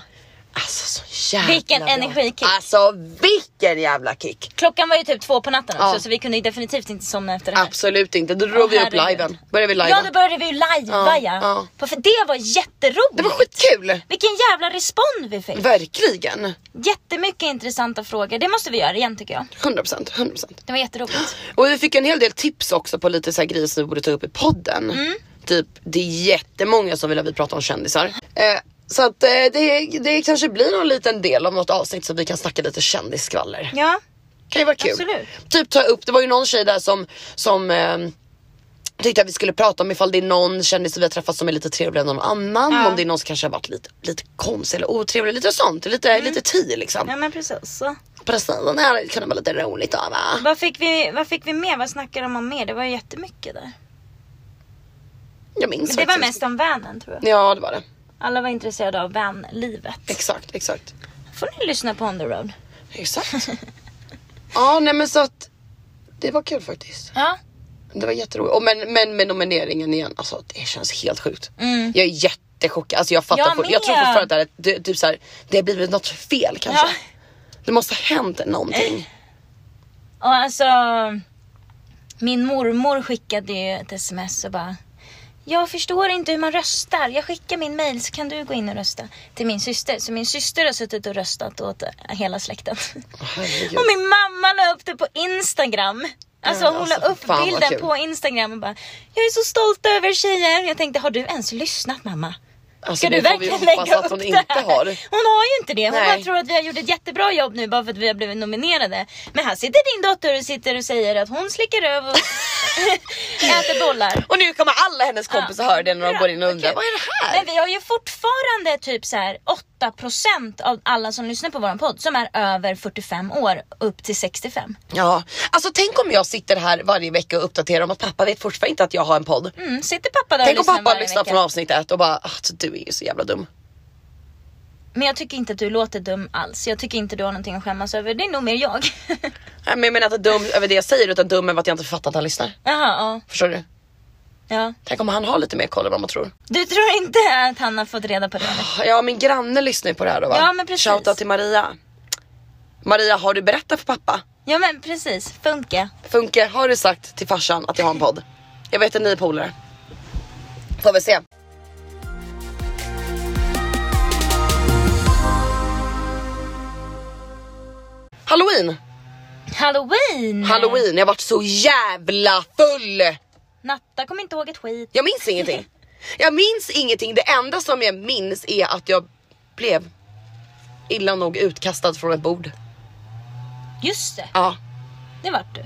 Speaker 1: Alltså så jävla
Speaker 2: Vilken
Speaker 1: bra.
Speaker 2: energikick.
Speaker 1: Alltså vilken jävla kick.
Speaker 2: Klockan var ju typ två på natten också
Speaker 1: Ja.
Speaker 2: så vi kunde ju definitivt inte somna efter det här.
Speaker 1: Absolut inte, då drog vi upp
Speaker 2: herregud.
Speaker 1: liven. Började vi live.
Speaker 2: Ja då började vi ju live-vaja.
Speaker 1: Ja, ja.
Speaker 2: För- För det var jätteroligt.
Speaker 1: Det var skitkul!
Speaker 2: Vilken jävla respons vi fick.
Speaker 1: Verkligen!
Speaker 2: Jättemycket intressanta frågor. Det måste vi göra igen tycker jag.
Speaker 1: 100%, 100%.
Speaker 2: Det var jätteroligt.
Speaker 1: Och vi fick en hel del tips också på lite så här grejer som vi borde ta upp i podden.
Speaker 2: Mm.
Speaker 1: Typ, det är jättemånga som vill att vi pratar om kändisar. Eh, så att eh, det, det kanske blir någon liten del av något avsnitt så vi kan snacka lite kändisskvaller.
Speaker 2: [gasps] Ja.
Speaker 1: Kan ju vara kul.
Speaker 2: Absolut.
Speaker 1: Typ ta upp, det var ju någon tjej där som, som eh, tyckte att vi skulle prata om ifall det är någon kändis som vi har träffat som är lite trevligare än någon annan.
Speaker 2: Ja.
Speaker 1: Om det är någon som kanske har varit lite, lite konstig eller otrevlig, lite sånt. Lite, lite tid liksom.
Speaker 2: Mm. Ja men precis. Så.
Speaker 1: Precis, den här kunde vara lite roligt då va?
Speaker 2: Vad fick, vi, vad fick vi mer? Vad snackade de om mer? Det var ju jättemycket där.
Speaker 1: Jag minns
Speaker 2: Men det var
Speaker 1: faktiskt.
Speaker 2: mest om vanen tror jag.
Speaker 1: Ja det var det.
Speaker 2: Alla var intresserade av vanlivet.
Speaker 1: Exakt, exakt.
Speaker 2: får ni lyssna på On the Road. [laughs]
Speaker 1: Exakt. ja nej men så att det var kul faktiskt.
Speaker 2: Ja.
Speaker 1: Det var jätteroligt. Och men, men med nomineringen igen, alltså det känns helt sjukt.
Speaker 2: Mm.
Speaker 1: Jag är jättechockad. Alltså jag fattar
Speaker 2: Jag
Speaker 1: jag, jag tror
Speaker 2: med.
Speaker 1: fortfarande att det, här är- det, typ så här, det har blivit något fel kanske.
Speaker 2: Ja.
Speaker 1: Det måste ha hänt någonting.
Speaker 2: Och alltså, min mormor skickade ju ett sms och bara jag förstår inte hur man röstar. Jag skickar min mail så kan du gå in och rösta till min syster. Så min syster har suttit och röstat åt hela släkten.
Speaker 1: Åh, herregud.
Speaker 2: Och min mamma la upp det på Instagram. Alltså
Speaker 1: Ja,
Speaker 2: hon
Speaker 1: alltså,
Speaker 2: la upp
Speaker 1: fan vad
Speaker 2: bilden
Speaker 1: kul.
Speaker 2: på Instagram och bara Jag är så stolt över tjejer. Jag tänkte har du ens lyssnat mamma?
Speaker 1: Alltså,
Speaker 2: Ska du
Speaker 1: det får vi
Speaker 2: verkligen
Speaker 1: hoppas
Speaker 2: lägga
Speaker 1: att
Speaker 2: upp
Speaker 1: hon
Speaker 2: det
Speaker 1: inte
Speaker 2: här?
Speaker 1: har.
Speaker 2: Hon har ju inte det. Hon
Speaker 1: Nej.
Speaker 2: bara tror att vi har gjort ett jättebra jobb nu bara för att vi har blivit nominerade. Men här sitter din dotter och sitter och säger att hon slickar öv och
Speaker 1: [laughs]
Speaker 2: äter bollar.
Speaker 1: Och nu kommer alla hennes kompisar
Speaker 2: Ja.
Speaker 1: höra det när de
Speaker 2: Bra,
Speaker 1: går in och undrar
Speaker 2: kul.
Speaker 1: vad är det här?
Speaker 2: Men vi har ju fortfarande typ så här 8% av alla som lyssnar på våran podd som är över 45 år upp till 65.
Speaker 1: Ja, alltså tänk om jag sitter här varje vecka och uppdaterar om att pappa vet fortfarande inte att jag har en podd.
Speaker 2: Mm, sitter pappa där
Speaker 1: Tänk om
Speaker 2: och lyssnar
Speaker 1: pappa
Speaker 2: varje
Speaker 1: lyssnar
Speaker 2: vecka.
Speaker 1: från avsnitt ett och bara alltså, du är ju så jävla dum.
Speaker 2: Men jag tycker inte att du låter dum alls. Jag tycker inte du har någonting att skämmas över. Det är nog mer jag. [laughs]
Speaker 1: Nej, men jag menar inte dum över det jag säger utan dum över att jag inte fattar att han lyssnar.
Speaker 2: Jaha, ja.
Speaker 1: Förstår du?
Speaker 2: ja.
Speaker 1: Tänk om han har lite mer koll än vad man tror. Ah,
Speaker 2: Du tror inte att han har fått reda på det eller?
Speaker 1: Ja min granne lyssnar ju på det här då va?
Speaker 2: Ja, men precis.
Speaker 1: Shoutout till Maria. Maria har du berättat för pappa?
Speaker 2: Ja men precis, funka.
Speaker 1: Funke har du sagt till farsan att jag har en podd? Jag vet en ny polare. Får vi se. Halloween!
Speaker 2: Halloween!
Speaker 1: Halloween, jag har varit så jävla full!
Speaker 2: Natta kommer inte ihåg ett skit.
Speaker 1: Jag minns ingenting. Jag minns ingenting. Det enda som jag minns är att jag blev illa nog utkastad från ett bord.
Speaker 2: Just det,
Speaker 1: Ja.
Speaker 2: det vart du.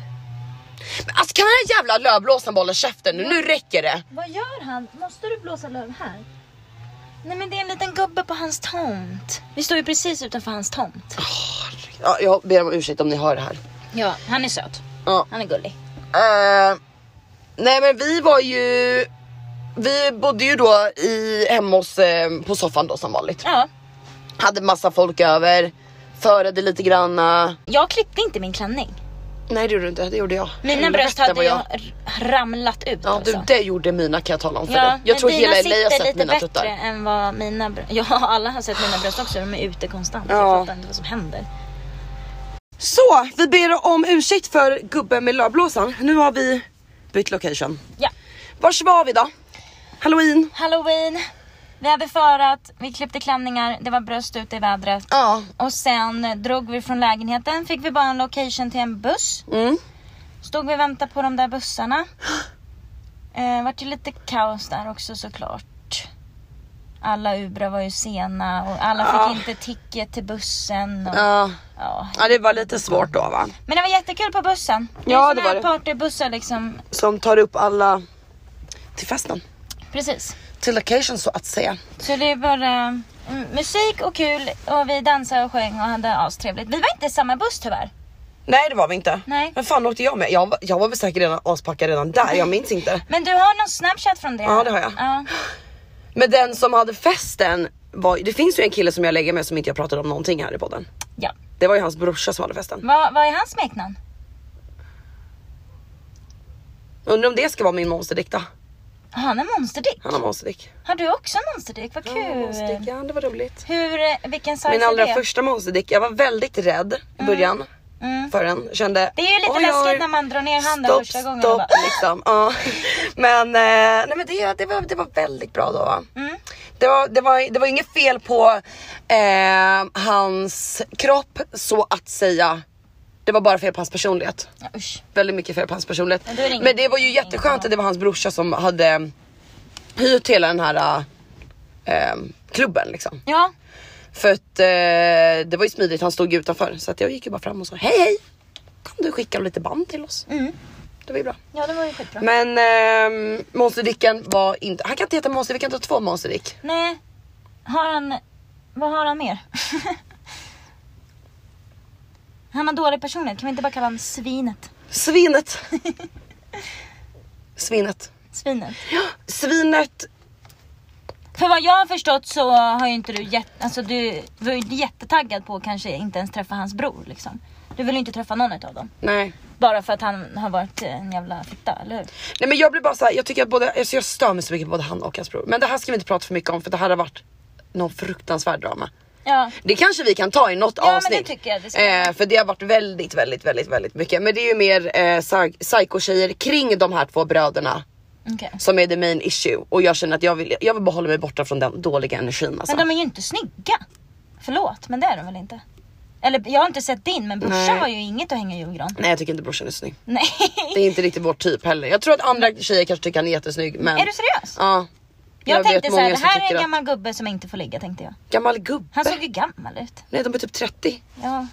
Speaker 1: Men alltså kan den här jävla lövblåsaren bara hålla käften nu? Nu räcker det.
Speaker 2: Vad gör han? Måste du blåsa löv här? Nej men det är en liten gubbe på hans tomt. Vi står ju precis utanför hans tomt.
Speaker 1: Ja, jag ber om ursäkt om ni hör det här.
Speaker 2: Ja, han är söt.
Speaker 1: Ja.
Speaker 2: Han är gullig.
Speaker 1: Eh, nej men vi var ju, vi bodde ju då i, hemma hos, eh, på soffan då som vanligt.
Speaker 2: Ja.
Speaker 1: Hade massa folk över, förade lite granna.
Speaker 2: Jag klippte inte min klänning.
Speaker 1: Nej det gjorde du inte, det gjorde jag.
Speaker 2: Mina
Speaker 1: Helvete,
Speaker 2: bröst hade
Speaker 1: vad
Speaker 2: jag r- ramlat ut
Speaker 1: Ja
Speaker 2: alltså.
Speaker 1: du, det gjorde mina kan jag tala om för dig. Jag
Speaker 2: men
Speaker 1: tror
Speaker 2: dina
Speaker 1: hela LA har
Speaker 2: sitter
Speaker 1: sett
Speaker 2: lite
Speaker 1: mina
Speaker 2: bättre
Speaker 1: tuttar.
Speaker 2: än vad mina bröst... [laughs] Ja, alla har sett mina bröst också. De är ute konstant.
Speaker 1: Ja.
Speaker 2: Jag fattar inte vad som händer.
Speaker 1: Så, vi ber om ursäkt för gubben med lövblåsan. Nu har vi bytt location.
Speaker 2: Ja,
Speaker 1: Vars var vi då? Halloween?
Speaker 2: halloween. Vi hade förat, vi klippte klänningar, det var bröst ute i vädret.
Speaker 1: Ja.
Speaker 2: Och sen drog vi från lägenheten, fick vi bara en location till en buss.
Speaker 1: Mm.
Speaker 2: Stod vi och väntade på de där bussarna. [gasps] Eh, vart ju lite kaos där också såklart. Alla Ubra var ju sena och alla fick
Speaker 1: Ja.
Speaker 2: inte ticket till bussen. Och,
Speaker 1: Ja.
Speaker 2: ja,
Speaker 1: ja, det var lite svårt då va?
Speaker 2: Men det var jättekul på bussen. Det
Speaker 1: Ja,
Speaker 2: är
Speaker 1: det
Speaker 2: såna här
Speaker 1: var det.
Speaker 2: partybussar liksom.
Speaker 1: Som tar upp alla till festen.
Speaker 2: Precis.
Speaker 1: Till location så att säga.
Speaker 2: Så det var eh, m- musik och kul och vi dansade och sjöng och hade astrevligt. Vi var inte i samma buss tyvärr.
Speaker 1: Nej det var vi inte.
Speaker 2: Nej.
Speaker 1: Men fan åkte jag med? Jag, var- jag var väl säkert redan aspackad redan där, jag minns inte.
Speaker 2: Men du har någon snapchat från det?
Speaker 1: Ja, det har jag.
Speaker 2: Ja.
Speaker 1: Men den som hade festen, var, det finns ju en kille som jag lägger med som inte jag pratade om någonting här i podden.
Speaker 2: ja.
Speaker 1: Det var ju hans brorsa som hade festen.
Speaker 2: Vad, vad är hans smeknamn?
Speaker 1: Undrar om det ska vara min monsterdikta.
Speaker 2: Ah, Han är monsterdick.
Speaker 1: Han har monsterdick.
Speaker 2: Har du också monsterdick? Vad
Speaker 1: Ja,
Speaker 2: kul.
Speaker 1: monsterdick, ja det var roligt.
Speaker 2: Hur, eh, vilken size
Speaker 1: Min
Speaker 2: är
Speaker 1: allra
Speaker 2: det?
Speaker 1: första monsterdick, jag var väldigt rädd i början
Speaker 2: Mm.
Speaker 1: för den. Kände,
Speaker 2: Det är ju lite
Speaker 1: "Oj, oj."
Speaker 2: läskigt när man drar ner handen
Speaker 1: stopp,
Speaker 2: första gången. och
Speaker 1: Stopp
Speaker 2: bara,
Speaker 1: liksom. Ja. [laughs] Men, eh, nej, men det, det, var, det var väldigt bra då. Va?
Speaker 2: Mm.
Speaker 1: Det, var, det, var, det var inget fel på eh, hans kropp så att säga. Det var bara fel på hans personlighet.
Speaker 2: Ja, usch.
Speaker 1: Väldigt mycket fel på hans personlighet.
Speaker 2: Men då är det inget-
Speaker 1: Men det var ju jätteskönt att det var hans brorsa som hade hyrt hela den här eh, klubben liksom.
Speaker 2: Ja,
Speaker 1: För att eh, det var ju smidigt, han stod ju utanför. Så att jag gick ju bara fram och sa hej hej. Kan du skicka lite band till oss?
Speaker 2: Mm.
Speaker 1: Det var ju bra.
Speaker 2: ja det var ju skitbra.
Speaker 1: Men ehm, Monsterdicken var inte, han kan inte heta Monster, vi kan inte ha två Monsterdick.
Speaker 2: Nej, har han... Vad har han mer? [laughs] han har dålig personlighet, kan vi inte bara kalla honom svinet? [laughs]
Speaker 1: Svinet. Svinet.
Speaker 2: Svinet.
Speaker 1: Ja, Svinet,
Speaker 2: För vad jag har förstått så har ju inte du jätte... Alltså du var ju inte jättetaggad på att kanske inte ens träffa hans bror liksom. Du vill ju inte träffa någon av dem.
Speaker 1: nej.
Speaker 2: Bara för att han har varit eh, en jävla fitta, eller hur?
Speaker 1: Nej men jag blir bara såhär, jag tycker att både, alltså jag stör mig så mycket på både han och hans bror. Men det här ska vi inte prata för mycket om för det här har varit någon fruktansvärd drama.
Speaker 2: Ja.
Speaker 1: Det kanske vi kan ta i något
Speaker 2: Ja, men
Speaker 1: avsnitt.
Speaker 2: det tycker jag vi ska.
Speaker 1: eh, för det har varit väldigt, väldigt, väldigt, väldigt mycket. Men det är ju mer eh, psy- psykotjejer kring de här två bröderna
Speaker 2: Okej.
Speaker 1: som är the main issue. Och jag känner att jag vill, jag vill bara hålla mig borta från den dåliga energin alltså.
Speaker 2: Men de är ju inte snygga. Förlåt, men det är de väl inte? Eller jag har inte sett din, men brorsan
Speaker 1: Nej.
Speaker 2: har ju inget att hänga i julgran. [laughs]
Speaker 1: Nej jag tycker inte brorsan är snygg.
Speaker 2: Nej.
Speaker 1: Det är inte riktigt vår typ heller. Jag tror att andra tjejer kanske tycker han är jättesnygg men...
Speaker 2: Är du seriös?
Speaker 1: Ja.
Speaker 2: Jag, tänkte såhär, det
Speaker 1: som
Speaker 2: här är
Speaker 1: tycker
Speaker 2: en
Speaker 1: att-
Speaker 2: gammal gubbe som inte får ligga tänkte jag.
Speaker 1: Gammal gubbe?
Speaker 2: Han såg ju gammal ut.
Speaker 1: Nej de är typ 30.
Speaker 2: Ja.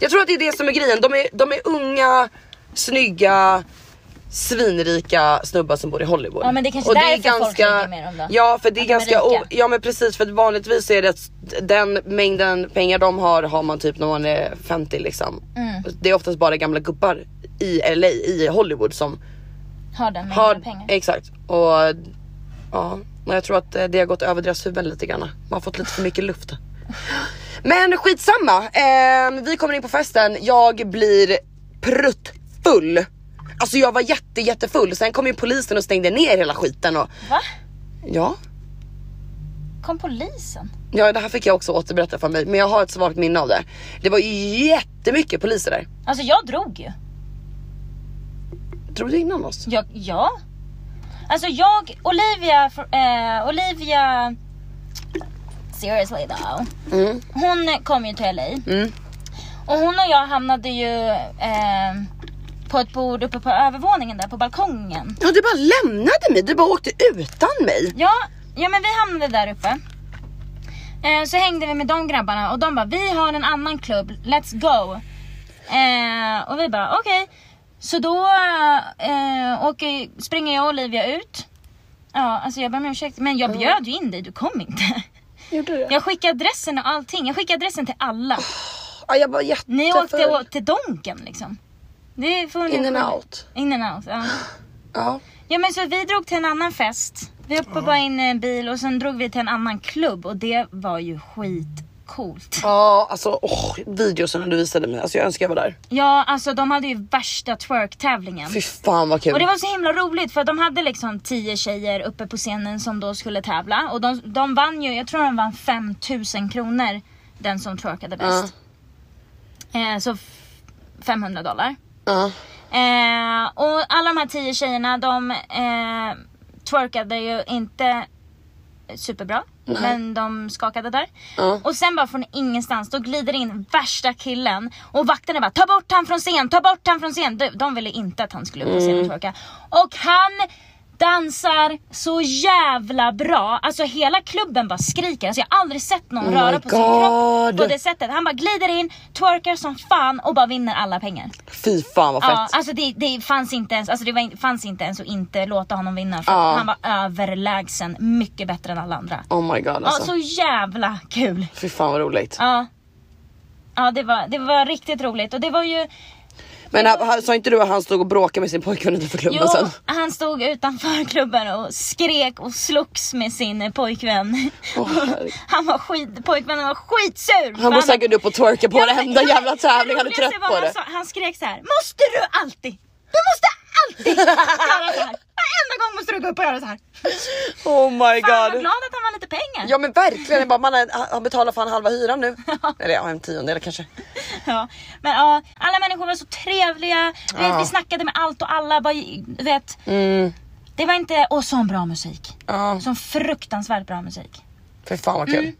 Speaker 1: Jag tror att det är det som är grejen. De är, de är unga, snygga, svinrika snubbar som bor i Hollywood.
Speaker 2: Ja, men det är kanske därför folk ligger med dem då.
Speaker 1: Ja för det är
Speaker 2: Att de är
Speaker 1: ganska,
Speaker 2: rika.
Speaker 1: o- ja men precis för att vanligtvis är det att den mängden pengar de har har man typ när man är 50 liksom.
Speaker 2: Mm.
Speaker 1: Det är oftast bara gamla gubbar i LA, i Hollywood som
Speaker 2: Har den mängden
Speaker 1: har,
Speaker 2: pengar.
Speaker 1: exakt. Och ja, men jag tror att eh, det har gått över deras huvuden lite grann. Man har fått lite för mycket luft. Men skitsamma, eh, vi kommer in på festen, jag blir pruttfull. Alltså jag var jätte jättefull, sen kom ju polisen och stängde ner hela skiten och
Speaker 2: Va?
Speaker 1: ja.
Speaker 2: Kom polisen?
Speaker 1: Ja det här fick jag också återberätta för mig men jag har ett svagt minne av det. Det var ju jättemycket poliser där.
Speaker 2: Alltså jag drog ju.
Speaker 1: Tror du innan oss?
Speaker 2: Jag, ja. Alltså jag, Olivia, fr- eh, Olivia... Seriously though.
Speaker 1: Mm.
Speaker 2: Hon kom ju till LA.
Speaker 1: Mm.
Speaker 2: Och hon och jag hamnade ju eh, på ett bord uppe på övervåningen där på balkongen.
Speaker 1: Ja du bara lämnade mig, du bara åkte utan mig.
Speaker 2: Ja, ja men vi hamnade där uppe. Eh, så hängde vi med de grabbarna och de bara vi har en annan klubb, let's go. Eh, och vi bara okej. Så då eh, åker, springer jag och Olivia ut. Ja, alltså jag ber om ursäkt men jag bjöd ju in dig, du kom inte. [laughs]
Speaker 1: Gjorde du det?
Speaker 2: Jag skickade adressen och allting, jag skickade adressen till alla.
Speaker 1: Ja, jag var jättefull.
Speaker 2: Ni åkte å- till Donken liksom. Det får ni-
Speaker 1: In and out.
Speaker 2: In and out, ja.
Speaker 1: Ja.
Speaker 2: Ja men så vi drog till en annan fest. Vi hoppade bara in i en bil och sen drog vi till en annan klubb och det var ju skitcoolt.
Speaker 1: Ja, alltså åh, videosen du visade mig. Alltså jag önskar jag var där.
Speaker 2: Ja alltså de hade ju värsta twerk-tävlingen.
Speaker 1: Fy fan vad kul.
Speaker 2: Och det var så himla roligt för de hade liksom 10 tjejer uppe på scenen som då skulle tävla och de, de vann ju, jag tror de vann 5000 kronor den som twerkade bäst. Eh, så f- 500 dollar.
Speaker 1: Ja.
Speaker 2: Eh, och alla de här tio tjejerna de eh, twerkade ju inte superbra. Men de skakade där.
Speaker 1: Ja.
Speaker 2: Och sen bara från ingenstans då glider in värsta killen och vakterna bara ta bort han från scen, ta bort han från scen. De, de ville inte att han skulle upp på
Speaker 1: Mm.
Speaker 2: scen och twerka. Och han dansar så jävla bra. Alltså hela klubben bara skriker. Alltså jag har aldrig sett någon
Speaker 1: Oh my
Speaker 2: röra på sin kropp på
Speaker 1: God.
Speaker 2: det sättet. Han bara glider in, twerkar som fan och bara vinner alla pengar.
Speaker 1: Fy fan vad fett.
Speaker 2: Ja, alltså det, det fanns inte ens, alltså det var, in- fanns inte ens att inte låta honom vinna för
Speaker 1: Ja.
Speaker 2: han var överlägsen, mycket bättre än alla andra.
Speaker 1: Oh my god alltså.
Speaker 2: Ja, så jävla kul.
Speaker 1: Fy fan vad roligt.
Speaker 2: Ja, ja det, var, det var riktigt roligt och det var ju
Speaker 1: Men han- han- sa inte du att han stod och bråkade med sin pojkvän utanför klubben
Speaker 2: Jo,
Speaker 1: sen?
Speaker 2: han stod utanför [laughs] klubben och skrek och slogs med sin eh, pojkvän.
Speaker 1: Åh, herregud.
Speaker 2: [laughs] Han var skit, pojkvännen var skitsur. för
Speaker 1: Han var säkert upp och twerka på
Speaker 2: Ja, men-
Speaker 1: varenda
Speaker 2: ja,
Speaker 1: jävla tävling, han är
Speaker 2: roligaste
Speaker 1: trött
Speaker 2: var
Speaker 1: på
Speaker 2: han
Speaker 1: det.
Speaker 2: sa- han skrek så här. måste du alltid, du måste alltid göra så
Speaker 1: [laughs]
Speaker 2: här. Varenda gång måste du gå upp och göra så här.
Speaker 1: Oh my
Speaker 2: Fan vad
Speaker 1: god.
Speaker 2: glad att han vann lite pengar.
Speaker 1: Ja men verkligen, jag bara, man är, han betalar fan halva hyran
Speaker 2: [laughs]
Speaker 1: nu. Eller ja, en tiondel kanske.
Speaker 2: Ja, men ja, alla människor var så trevliga. Du
Speaker 1: Ja.
Speaker 2: Vet, vi snackade med allt och alla. Bara, du vet,
Speaker 1: Mm.
Speaker 2: det var inte, och sån bra musik.
Speaker 1: Ja,
Speaker 2: Sån fruktansvärt bra musik.
Speaker 1: för fan vad kul.
Speaker 2: Mm.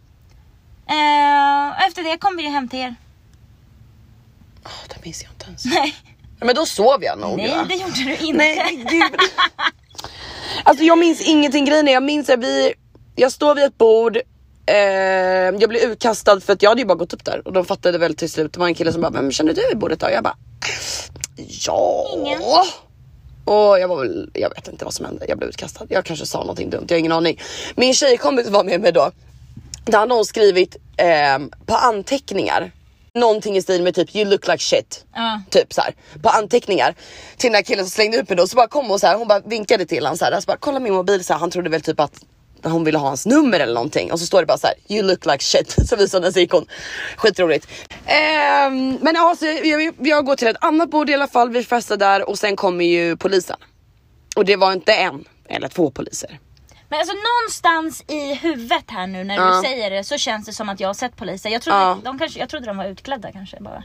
Speaker 2: Eh, och efter det kom vi ju hem till er. [laughs]
Speaker 1: Ah, det minns jag inte ens.
Speaker 2: Nej,
Speaker 1: Ja, Men då sov jag nog
Speaker 2: nej
Speaker 1: va?
Speaker 2: det gjorde du inte.
Speaker 1: Oh, Nej, gud. Alltså jag minns ingenting grejen är, jag minns att vi, jag står vid ett bord, eh, jag blir utkastad för att jag hade ju bara gått upp där och de fattade väl till slut, det var en kille som bara vem känner du i bordet då? Jag bara ja.
Speaker 2: Ingen.
Speaker 1: Och jag var väl, jag vet inte vad som hände, jag blev utkastad. Jag kanske sa någonting dumt, jag har ingen aning. Min tjejkompis var med mig då. Där hade hon skrivit ehm, på anteckningar, någonting i stil med typ you look like shit.
Speaker 2: Ja.
Speaker 1: Typ så här, på anteckningar till den här killen som slängde ut mig då. Så bara kom och så här, hon bara vinkade till honom så här. Så bara, kolla min mobil så här. Han trodde väl typ att hon ville ha hans nummer eller någonting och så står det bara så här you look like shit [laughs] så visade den sig ikon. Skitroligt. Ehm, men ja, så jag, jag går till ett annat bord i alla fall. Vi festar där och sen kommer ju polisen. Och det var inte en eller två poliser.
Speaker 2: Men alltså någonstans i huvudet här nu när
Speaker 1: Ja.
Speaker 2: du säger det så känns det som att jag har sett poliser. Jag trodde,
Speaker 1: Ja.
Speaker 2: de, kanske, jag trodde de var utklädda kanske bara.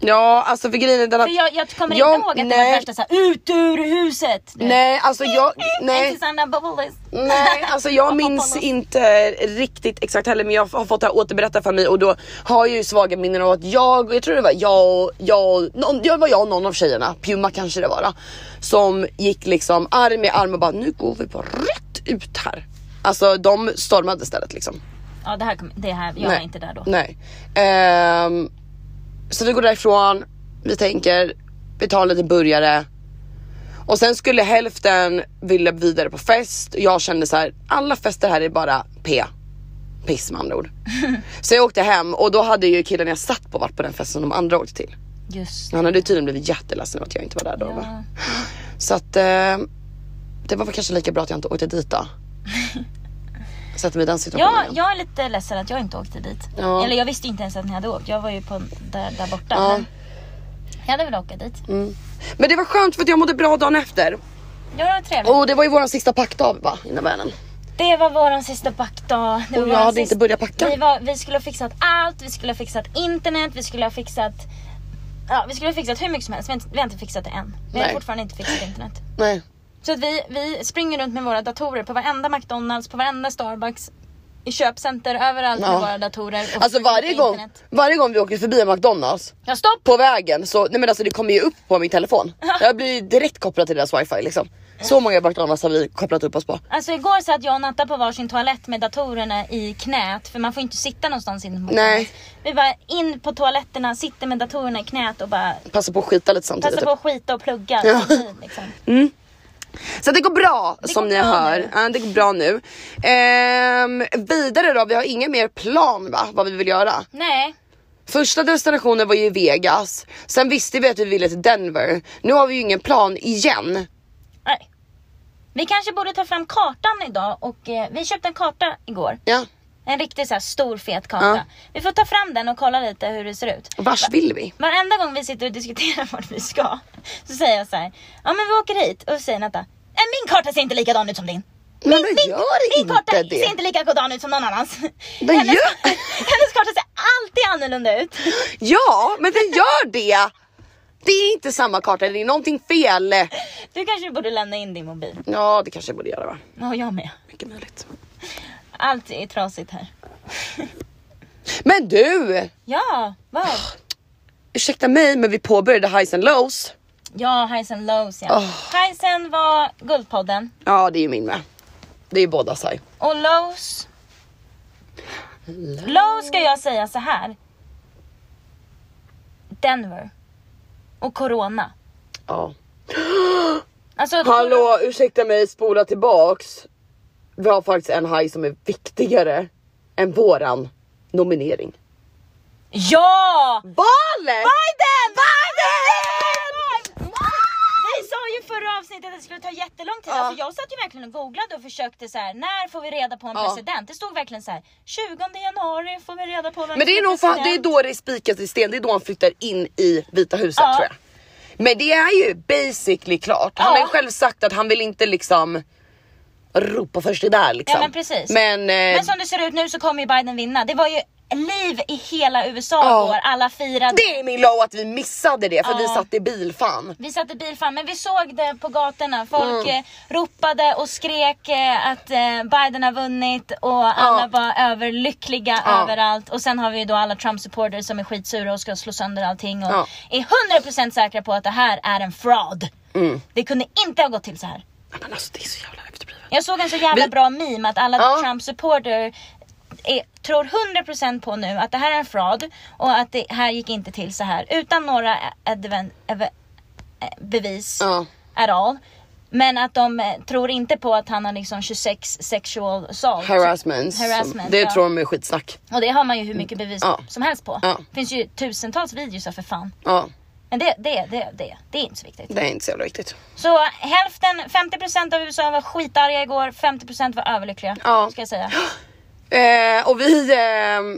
Speaker 1: Ja, alltså för grejen är den att...
Speaker 2: För jag, jag kommer
Speaker 1: Jag-
Speaker 2: inte ihåg att det
Speaker 1: nej.
Speaker 2: var värsta såhär ut ur huset. du vet.
Speaker 1: Nej, alltså jag...
Speaker 2: Mm,
Speaker 1: Nej.
Speaker 2: [laughs] Inte Sanna Bubbles. [laughs]
Speaker 1: Nej, alltså jag minns inte riktigt exakt heller men jag har fått det här återberättat för mig och då har jag ju svaga minnen av att jag, jag tror det var jag och, jag och, någon, jag var jag och någon av tjejerna, Puma kanske det var då, som gick liksom arm i arm och bara nu går vi bara rätt ut här. Alltså de stormade stället liksom.
Speaker 2: Ja det här, kom, det här jag var inte där då.
Speaker 1: Nej. Ehm, så vi går därifrån, vi tänker, vi tar lite burgare. Och sen skulle hälften vilja vidare på fest. Jag kände så här, alla fester här är bara P. Piss med andra
Speaker 2: [laughs]
Speaker 1: ord. så jag åkte hem och då hade ju killen jag satt på varit på den festen de andra åkte till.
Speaker 2: Just
Speaker 1: Han hade ju tydligen blivit jätteledsen att jag inte var där då. va?
Speaker 2: ja.
Speaker 1: Så att eh, det var väl kanske lika bra att jag inte åkte dit
Speaker 2: [laughs]
Speaker 1: då. Sätter mig i den situationen.
Speaker 2: Ja,
Speaker 1: igen.
Speaker 2: jag är lite ledsen att jag inte åkte dit.
Speaker 1: Ja.
Speaker 2: Eller jag visste inte ens att ni hade åkt. Jag var ju på där, där borta.
Speaker 1: Ja. Mm.
Speaker 2: Men jag hade velat åka dit.
Speaker 1: Men det var skönt för att jag mådde bra dagen efter.
Speaker 2: Ja, det var trevligt.
Speaker 1: Och det var ju våran sista packdag va, innan världen.
Speaker 2: Det var våran sista packdag. Det var
Speaker 1: Och jag
Speaker 2: våran
Speaker 1: hade inte börjat packa.
Speaker 2: Vi, var, vi skulle ha fixat allt. Vi skulle ha fixat internet. Vi skulle ha fixat... Ja, vi skulle ha fixat hur mycket som helst. Vi har inte, vi har inte fixat det än. Vi har
Speaker 1: Nej.
Speaker 2: fortfarande inte fixat internet.
Speaker 1: Nej.
Speaker 2: Så att vi, vi springer runt med våra datorer på varenda McDonalds, på varenda Starbucks, i köpcenter, överallt
Speaker 1: Ja.
Speaker 2: med våra datorer. och
Speaker 1: Alltså varje
Speaker 2: inte
Speaker 1: gång,
Speaker 2: internet.
Speaker 1: varje gång vi åker förbi en McDonalds
Speaker 2: Ja, stopp!
Speaker 1: på vägen så, nej men alltså det kommer ju upp på min [laughs] telefon. Jag blir ju direkt kopplad till deras wifi liksom. Så många McDonalds har vi kopplat upp oss på.
Speaker 2: Alltså igår satt jag och Natta på varsin toalett med datorerna i knät för man får inte sitta någonstans inne på
Speaker 1: Nej.
Speaker 2: toalett. Vi var in på toaletterna, sitter med datorerna i knät och bara
Speaker 1: Passa på att skita lite samtidigt.
Speaker 2: passar på
Speaker 1: typ.
Speaker 2: att skita och plugga
Speaker 1: Ja.
Speaker 2: samtidigt liksom.
Speaker 1: typ. Så det går bra som
Speaker 2: går
Speaker 1: ni
Speaker 2: bra
Speaker 1: hör.
Speaker 2: nu.
Speaker 1: Ja, det går bra nu. Ehm, vidare då, vi har ingen mer plan va, vad vi vill göra.
Speaker 2: Nej,
Speaker 1: Första destinationen var ju Vegas. Sen visste vi att vi ville till Denver. Nu har vi ju ingen plan igen.
Speaker 2: nej. Vi kanske borde ta fram kartan idag och eh, vi köpte en karta igår.
Speaker 1: Ja,
Speaker 2: En riktigt så här stor fet karta.
Speaker 1: Ja.
Speaker 2: Vi får ta fram den och kolla lite hur det ser ut.
Speaker 1: vars vill vi?
Speaker 2: Varenda gång vi sitter och diskuterar [laughs] vart vi ska så säger jag så här. Ja men vi åker hit och så säger Natta. "Nej, Min karta ser inte likadan ut som din.
Speaker 1: Men den gör
Speaker 2: Min karta
Speaker 1: inte
Speaker 2: ser
Speaker 1: det.
Speaker 2: inte likadan ut som
Speaker 1: [laughs]
Speaker 2: någon annans.
Speaker 1: Den
Speaker 2: hennes,
Speaker 1: gör-
Speaker 2: [laughs] hennes karta ser alltid annorlunda ut.
Speaker 1: Ja, men den gör det. Det är inte samma karta, det är någonting fel.
Speaker 2: Du kanske borde lämna in din mobil.
Speaker 1: Ja, det kanske jag borde göra va?
Speaker 2: Ja, jag med.
Speaker 1: Mycket möjligt.
Speaker 2: Allt är trasigt här.
Speaker 1: Men du,
Speaker 2: Ja, vad?
Speaker 1: ursäkta mig men vi påbörjade highs and lows.
Speaker 2: Ja, highs and lows ja.
Speaker 1: Oh.
Speaker 2: Highs and var Guldpodden
Speaker 1: Ja, det är ju min med. Det är ju båda sig.
Speaker 2: och lows. Lows ska jag säga så här. Denver. Och corona.
Speaker 1: Ja.
Speaker 2: Alltså,
Speaker 1: Hallå, ursäkta mig, spola tillbaks. Vi har faktiskt en high som är viktigare än våran nominering.
Speaker 2: Ja!
Speaker 1: Valet!
Speaker 2: Biden! Biden! tänkte att det skulle ta jättelång
Speaker 1: Ja.
Speaker 2: tid. Alltså jag satt ju verkligen och googlade och försökte så här. när får vi reda på en
Speaker 1: Ja.
Speaker 2: president? Det stod verkligen så här. 20 januari får vi reda på vem
Speaker 1: Men det är
Speaker 2: som
Speaker 1: nog fan, det är
Speaker 2: president.
Speaker 1: då det är spikat i sten, det är då han flyttar in i Vita huset
Speaker 2: Ja.
Speaker 1: tror jag. Men det är ju basically klart. Han
Speaker 2: Ja.
Speaker 1: har ju själv sagt att han vill inte liksom ropa först det där liksom.
Speaker 2: Ja, men precis.
Speaker 1: Men, eh,
Speaker 2: Men som det ser ut nu så kommer ju Biden vinna. Det var ju liv i hela USA
Speaker 1: Ja.
Speaker 2: igår. Alla firade.
Speaker 1: det är min low att vi missade det för
Speaker 2: Ja.
Speaker 1: vi satt i bil fan.
Speaker 2: Vi satt i bil fram, men vi såg det på gatorna.
Speaker 1: Mm.
Speaker 2: Folk eh, ropade och skrek eh, att eh, Biden har vunnit och alla var överlyckliga
Speaker 1: Ja.
Speaker 2: överallt. Och sen har vi ju då alla Trump-supporters som är skitsura och ska slå sönder allting och
Speaker 1: Ja.
Speaker 2: är 100% säkra på att det här är en fraud.
Speaker 1: Mm.
Speaker 2: Det kunde inte ha gått till så här.
Speaker 1: Ja, Men alltså det är så jävla överdrivet.
Speaker 2: Jag såg en så jävla
Speaker 1: Vi-
Speaker 2: bra meme att alla
Speaker 1: Ja.
Speaker 2: Trump-supporter är- tror 100% på nu att det här är en fraud och att det här gick inte till så här utan några adven- ev- eh, bevis
Speaker 1: Ja.
Speaker 2: at all. Men att de eh, tror inte på att han har liksom 26 sexual assault.
Speaker 1: Harassment. som-
Speaker 2: Harassment,
Speaker 1: det
Speaker 2: ja.
Speaker 1: tror de är skitsnack.
Speaker 2: Och det har man ju hur mycket bevis
Speaker 1: Ja.
Speaker 2: som helst på.
Speaker 1: Ja.
Speaker 2: Det finns ju tusentals videos för fan.
Speaker 1: Ja,
Speaker 2: Men det, det, det, det, det är inte så viktigt.
Speaker 1: det är inte så jävla viktigt.
Speaker 2: Så hälften, 50% av USA var skitarga igår, 50% var överlyckliga.
Speaker 1: Ja.
Speaker 2: Ska jag säga.
Speaker 1: Eh, och vi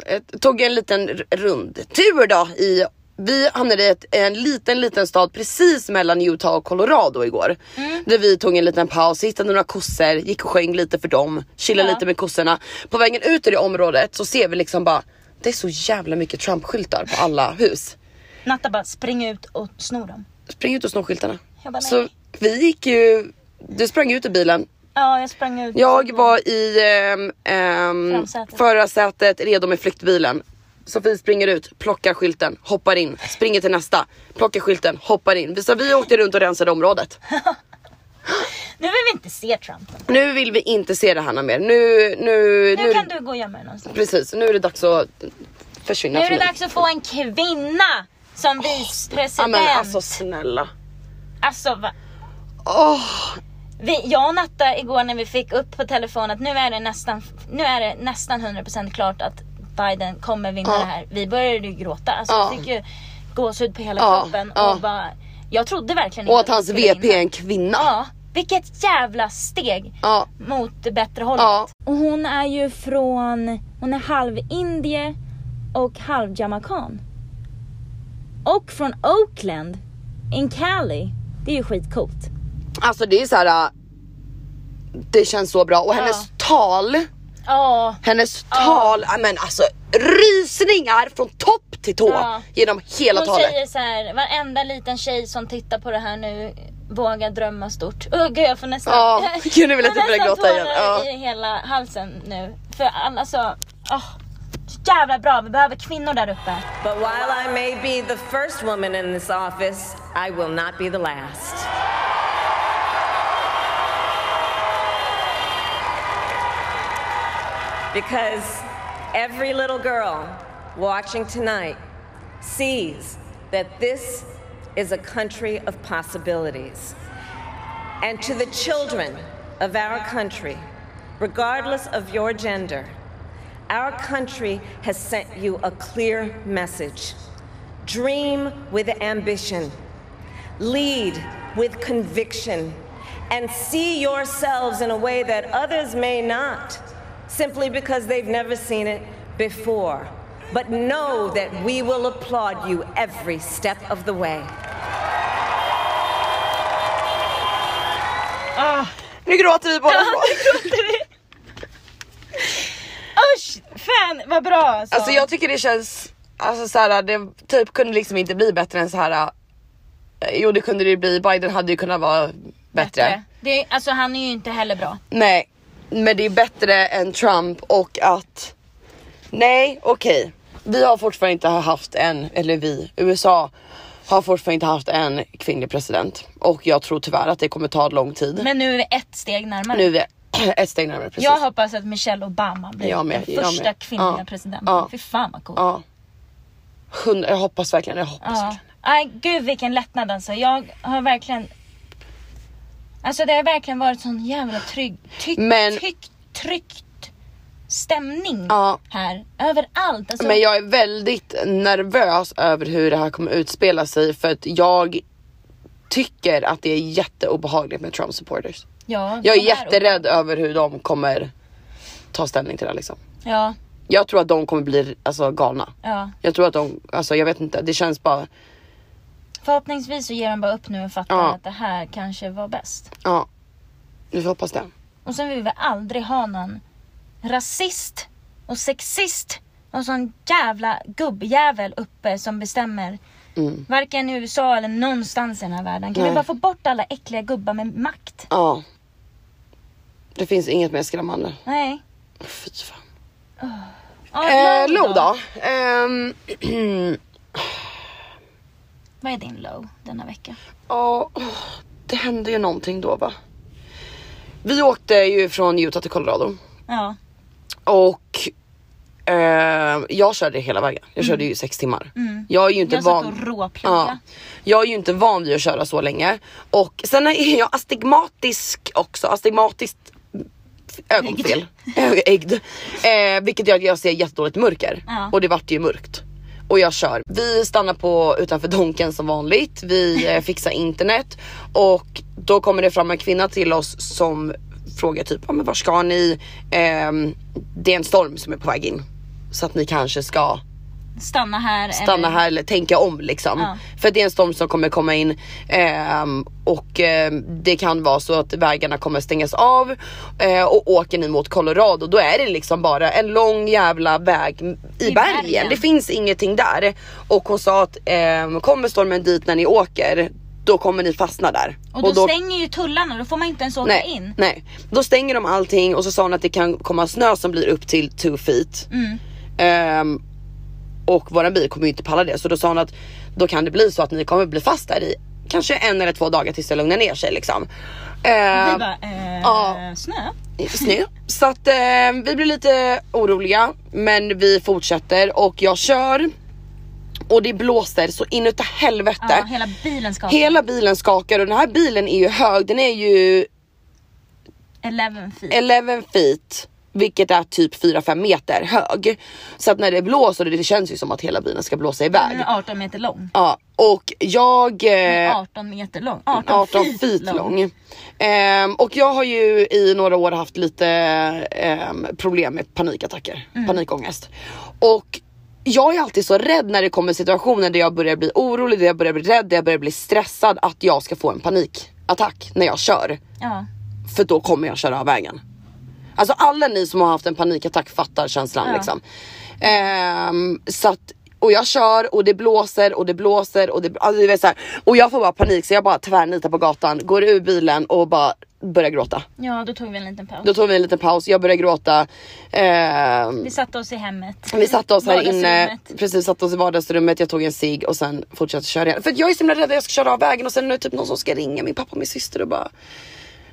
Speaker 1: eh, tog en liten r- rundtur då. I, vi hamnade i ett, en liten liten stad precis mellan Utah och Colorado igår.
Speaker 2: Mm.
Speaker 1: Där vi tog en liten paus, hittade några kossor, gick och sjöng lite för dem, chillade
Speaker 2: Ja.
Speaker 1: lite med kossorna. På vägen ut ur det området så ser vi liksom bara, det är så jävla mycket Trump-skyltar på alla hus.
Speaker 2: Natta bara spring ut och snor dem.
Speaker 1: Spring ut och snå skyltarna.
Speaker 2: Jag bara, nej.
Speaker 1: Så vi gick ju, du sprang ut ur bilen,
Speaker 2: Ja, jag sprang ut.
Speaker 1: Jag var i ehm, ehm,
Speaker 2: Framsätet.
Speaker 1: förarsätet redo med flyktbilen. Sofie springer ut, plockar skylten, hoppar in, springer till nästa, plockar skylten, hoppar in. Visst, vi åkte runt och rensade
Speaker 2: [laughs]
Speaker 1: området.
Speaker 2: Nu vill vi inte se Trump.
Speaker 1: Nu vill vi inte se det här mer. Nu, nu,
Speaker 2: Nu kan du gå och gömma dig någonstans.
Speaker 1: Precis, nu är det dags att försvinna
Speaker 2: Nu är
Speaker 1: från
Speaker 2: det
Speaker 1: mig.
Speaker 2: dags att få en kvinna som
Speaker 1: Ja,
Speaker 2: vicepresident.
Speaker 1: men alltså snälla.
Speaker 2: Alltså, va?
Speaker 1: Åh,
Speaker 2: Vi, jag och Natta igår när vi fick upp på telefon att nu är det nästan, nu är det nästan 100% klart att Biden kommer vinna
Speaker 1: Ja.
Speaker 2: det här. Vi började ju gråta. Alltså,
Speaker 1: Ja.
Speaker 2: Vi fick ju gåshud på hela
Speaker 1: Ja,
Speaker 2: kroppen.
Speaker 1: ja.
Speaker 2: Och bara, jag trodde verkligen
Speaker 1: Och
Speaker 2: inte
Speaker 1: att hans
Speaker 2: vi skulle
Speaker 1: VP är
Speaker 2: vinna.
Speaker 1: en kvinna.
Speaker 2: Ja, vilket jävla steg
Speaker 1: Ja.
Speaker 2: mot det bättre hållet.
Speaker 1: Ja.
Speaker 2: Och hon är ju från, hon är halvindie och halvjamaican. Och från Oakland, in Cali. Det är ju skitcoolt.
Speaker 1: Alltså det är så här. äh, Det känns så bra och hennes tal.
Speaker 2: Ja.
Speaker 1: Hennes tal, ja. men alltså rysningar från topp till tå
Speaker 2: Ja.
Speaker 1: genom hela
Speaker 2: Hon
Speaker 1: talet.
Speaker 2: säger så här, varenda liten tjej som tittar på det här nu våga drömma stort. Åh gud jag får nästan, [laughs]
Speaker 1: Ja, gud, nu vill jag
Speaker 2: får
Speaker 1: typ börja
Speaker 2: nästan
Speaker 1: gråta igen.
Speaker 2: tårar
Speaker 1: Ja.
Speaker 2: i hela halsen nu. För alla så, åh, så jävla bra, vi behöver kvinnor där uppe. [laughs]
Speaker 4: But while I may be the first woman in this office, I will not be the last. Because every little girl watching tonight sees that this is a country of possibilities. And to the children of our country, regardless of your gender, our country has sent you a clear message. Dream with ambition, lead with conviction, and see yourselves in a way that others may not, simply because they've never seen it before. But know that we will applaud you every step of the way.
Speaker 1: Nu gråter vi båda två.
Speaker 2: Usch, fan vad bra
Speaker 1: [laughs]
Speaker 2: alltså.
Speaker 1: Alltså jag tycker det känns, alltså så här, det typ kunde liksom inte bli bättre än så här. eh, Jo det kunde det ju bli, Biden hade ju kunnat vara bättre.
Speaker 2: Det, är- alltså han är ju inte heller bra.
Speaker 1: Nej, men det är bättre än Trump och att nej okej. Vi har fortfarande inte haft en, eller vi, USA har fortfarande inte haft en kvinnlig president och jag tror tyvärr att det kommer ta lång tid.
Speaker 2: Men nu är vi ett steg närmare.
Speaker 1: Nu är vi ett steg närmare precis.
Speaker 2: Jag hoppas att Michelle Obama blir
Speaker 1: Jag med,
Speaker 2: den
Speaker 1: jag
Speaker 2: första
Speaker 1: med.
Speaker 2: kvinnliga
Speaker 1: Ja.
Speaker 2: presidenten.
Speaker 1: Ja.
Speaker 2: Fy fan vad coolt.
Speaker 1: Ja. Hundra, jag hoppas verkligen, jag hoppas
Speaker 2: Ja.
Speaker 1: verkligen.
Speaker 2: Aj, gud vilken lättnad alltså. Jag har verkligen... Alltså det har verkligen varit sån jävla trygg, tyck,
Speaker 1: Men-
Speaker 2: tyck, tryckt stämning
Speaker 1: Ja.
Speaker 2: här. Överallt. Alltså,
Speaker 1: Men jag är väldigt nervös över hur det här kommer utspela sig för att jag tycker att det är jätteobehagligt med Trump supporters.
Speaker 2: Ja,
Speaker 1: Jag är
Speaker 2: de här-
Speaker 1: jätterädd över hur de kommer ta ställning till det här, liksom.
Speaker 2: Ja,
Speaker 1: Jag tror att de kommer bli alltså, galna.
Speaker 2: ja.
Speaker 1: Jag tror att de, alltså jag vet inte, det känns bara,
Speaker 2: Förhoppningsvis så ger de bara upp nu och fattar
Speaker 1: Ja.
Speaker 2: att det här kanske var bäst.
Speaker 1: ja. Vi får hoppas det.
Speaker 2: Och sen vill vi aldrig ha någon rasist och sexist och sån jävla gubbjävel uppe som bestämmer. Varken i USA eller någonstans i den här världen. Kan vi
Speaker 1: Mm. Nej.
Speaker 2: bara få bort alla äckliga gubbar med makt?
Speaker 1: Ja. Det finns inget mer skrämmande.
Speaker 2: Nej.
Speaker 1: Fy fan.
Speaker 2: Ja,
Speaker 1: Eh,
Speaker 2: low
Speaker 1: low då? Ehm, [clears throat]
Speaker 2: Vad är din low denna vecka?
Speaker 1: Ja, åh, det hände ju någonting då va? Vi åkte ju från Utah till Colorado
Speaker 2: Ja.
Speaker 1: och eh, jag körde hela vägen. Jag körde ju sex timmar. Jag är ju inte
Speaker 2: Mm. Jag satt
Speaker 1: van.
Speaker 2: och råplugga.
Speaker 1: Ja. Jag är ju inte van vid att köra så länge och sen är jag astigmatisk också, astigmatiskt ögonfel. Ö- Äggd. Eh, vilket gör att jag ser jättedåligt i mörker.
Speaker 2: Ja.
Speaker 1: Och det vart ju mörkt. Och jag kör. Vi stannar på utanför Donken som vanligt. Vi eh, fixar internet och då kommer det fram en kvinna till oss som frågar typ, ah, men var ska ni? Ehm, det är en storm som är på väg in. Så att ni kanske ska
Speaker 2: Stanna här.
Speaker 1: stanna
Speaker 2: eller...
Speaker 1: här eller tänka om liksom.
Speaker 2: Ja.
Speaker 1: För det är en storm som kommer komma in ehm, och ehm, det kan vara så att vägarna kommer stängas av eh, och åker ni mot Colorado då är det liksom bara en lång jävla väg i,
Speaker 2: I
Speaker 1: bergen.
Speaker 2: bergen.
Speaker 1: Det finns ingenting där. Och hon sa att ehm, kommer stormen dit när ni åker då kommer ni fastna där.
Speaker 2: Och då, stänger ju tullarna, då får man inte ens åka
Speaker 1: nej,
Speaker 2: in.
Speaker 1: Nej, då stänger de allting och så sa hon att det kan komma snö som blir upp till 2 feet.
Speaker 2: Mm.
Speaker 1: Ehm, och våran bil kommer ju inte palla det så då sa hon att då kan det bli så att ni kommer bli fast där i kanske en eller två dagar tills det lugnar ner sig liksom.
Speaker 2: Vi
Speaker 1: Ehm,
Speaker 2: bara, eh,
Speaker 1: ja.
Speaker 2: snö?
Speaker 1: snö. Så att eh, vi blir lite oroliga men vi fortsätter och jag kör och det blåser så inuti helvete.
Speaker 2: Ja, hela bilen skakar.
Speaker 1: Hela bilen skakar och den här bilen är ju hög, den är ju
Speaker 2: 11 feet.
Speaker 1: 11 feet, vilket är typ 4-5 meter hög. Så att när det blåser, det känns ju som att hela bilen ska blåsa iväg.
Speaker 2: Den är 18 meter lång.
Speaker 1: Ja, och jag...
Speaker 2: Den
Speaker 1: Eh,
Speaker 2: är 18 meter lång. 18,
Speaker 1: 18
Speaker 2: feet,
Speaker 1: feet lång. Ehm, och jag har ju i några år haft lite ehm, problem med panikattacker, panikångest. Och jag är alltid så rädd när det kommer situationer där jag börjar bli orolig, där jag börjar bli rädd, där jag börjar bli stressad att jag ska få en panikattack när jag kör
Speaker 2: Ja.
Speaker 1: för då kommer jag köra av vägen. Alltså alla ni som har haft en panikattack fattar känslan
Speaker 2: Ja.
Speaker 1: liksom. Ehm, så att, och jag kör och det blåser och det blåser och det, alltså, du vet, så här, Och jag får bara panik så jag bara tvärnitar på gatan, går ur bilen och bara börjar gråta.
Speaker 2: ja, då tog vi en liten paus.
Speaker 1: Då tog vi en liten paus, jag började gråta. Ehm,
Speaker 2: Vi satte oss i hemmet.
Speaker 1: vi satte oss här inne,
Speaker 2: Vardagsrummet.
Speaker 1: precis satte oss i vardagsrummet, jag tog en cig och sen fortsatte köra igen. För att jag är så himla rädd att jag ska köra av vägen och sen är det typ någon som ska ringa min pappa och min syster och bara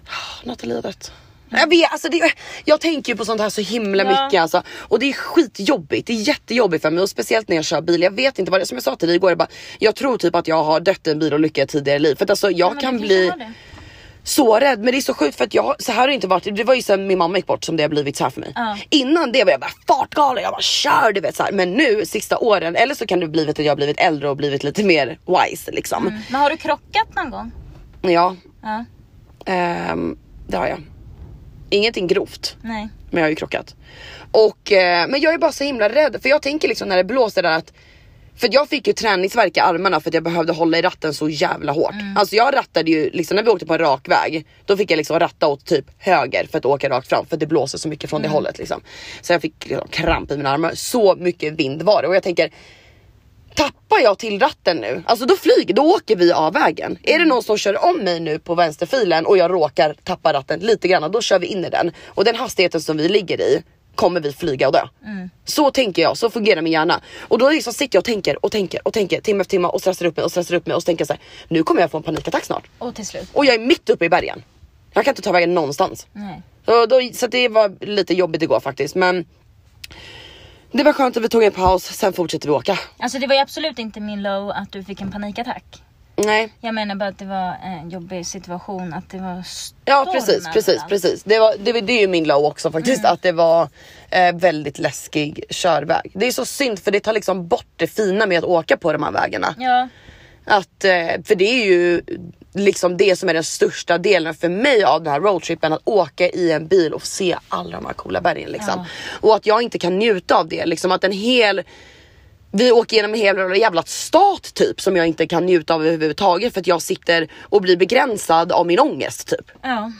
Speaker 1: "Ah, Något i livet. Jag vet, alltså det, jag tänker ju på sånt här så himla
Speaker 2: Ja.
Speaker 1: mycket alltså. Och det är skitjobbigt, det är jättejobbigt för mig och speciellt när jag kör bil. Jag vet inte vad det är, som jag sa till dig igår, jag, bara, jag tror typ att jag har dött i en bilolycka tidigare i liv. För att alltså jag
Speaker 2: Ja, men
Speaker 1: kan
Speaker 2: du
Speaker 1: bli
Speaker 2: ha det.
Speaker 1: så rädd men det är så sjukt för att jag, så här har det inte varit, det var ju sen min mamma gick bort som det har blivit så här för mig.
Speaker 2: Ja.
Speaker 1: Innan det var jag bara fartgalen, jag bara kör du vet så här. Men nu sista åren, eller så kan det blivit att jag har blivit äldre och blivit lite mer wise liksom.
Speaker 2: Mm. Men har du krockat någon gång?
Speaker 1: Ja,
Speaker 2: Ja.
Speaker 1: ehm, det har jag. Ingenting grovt.
Speaker 2: Nej.
Speaker 1: Men jag har ju krockat. Och, eh, men jag är bara så himla rädd för jag tänker liksom när det blåser där att för att jag fick ju träningsvärk i armarna för att jag behövde hålla i ratten så jävla hårt. Alltså jag rattade ju liksom när vi åkte på en rak väg. Då fick jag liksom ratta åt typ höger för att åka rakt fram för att det blåser så mycket från det hållet liksom. Så jag fick liksom kramp i mina armar. Så mycket vind var det och jag tänker Tappar jag till ratten nu, alltså då flyger, då åker vi av vägen. Är det någon som kör om mig nu på vänsterfilen och jag råkar tappa ratten lite grann, då kör vi in i den. Och den hastigheten som vi ligger i kommer vi flyga och dö. Så tänker jag, så fungerar min hjärna. Och då liksom sitter jag och tänker och tänker och tänker timme efter timme och stressar upp mig och stressar upp mig och så tänker jag så här, nu kommer jag få en panikattack snart.
Speaker 2: Och till slut.
Speaker 1: Och jag är mitt uppe i bergen. Jag kan inte ta vägen någonstans.
Speaker 2: Nej.
Speaker 1: Så, då, så det var lite jobbigt igår faktiskt men det var skönt att vi tog en paus, sen fortsätter vi åka.
Speaker 2: Alltså det var ju absolut inte min low att du fick en panikattack.
Speaker 1: Nej.
Speaker 2: Jag menar bara att det var en jobbig situation, att det var storm
Speaker 1: Ja precis, precis,
Speaker 2: överallt.
Speaker 1: precis. Det, var, det, var- det är ju min low också faktiskt att det var eh, väldigt läskig körväg. Det är så synd för det tar liksom bort det fina med att åka på de här vägarna.
Speaker 2: Ja,
Speaker 1: Att, eh, för det är ju liksom det som är den största delen för mig av den här roadtrippen. Att åka i en bil och se alla de här coola bergen liksom. Och att jag inte kan njuta av det. Liksom att en hel vi åker genom en hel jävla- jävla stat typ som jag inte kan njuta av överhuvudtaget för att jag sitter och blir begränsad av min ångest typ.
Speaker 2: Ja.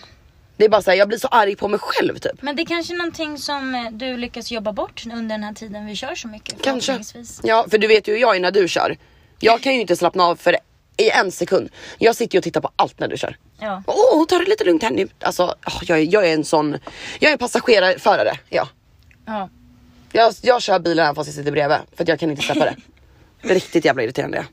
Speaker 1: Det är bara såhär, jag blir så arg på mig själv typ.
Speaker 2: Men det är kanske är någonting som eh, du lyckas jobba bort under den här tiden vi kör så mycket.
Speaker 1: Kanske.
Speaker 2: förhoppningsvis.
Speaker 1: Ja, för du vet ju hur jag är när du kör. Jag kan ju inte slappna av för i en sekund. Jag sitter ju och tittar på allt när du kör.
Speaker 2: Ja.
Speaker 1: Åh, ta det lite lugnt här nu. Alltså, åh, jag, är- jag är en sån, jag är en passagerarförare. Ja.
Speaker 2: ja.
Speaker 1: Jag, jag kör bilen även fast jag sitter bredvid för att jag kan inte släppa
Speaker 2: [laughs]
Speaker 1: det. det är riktigt jävla irriterande.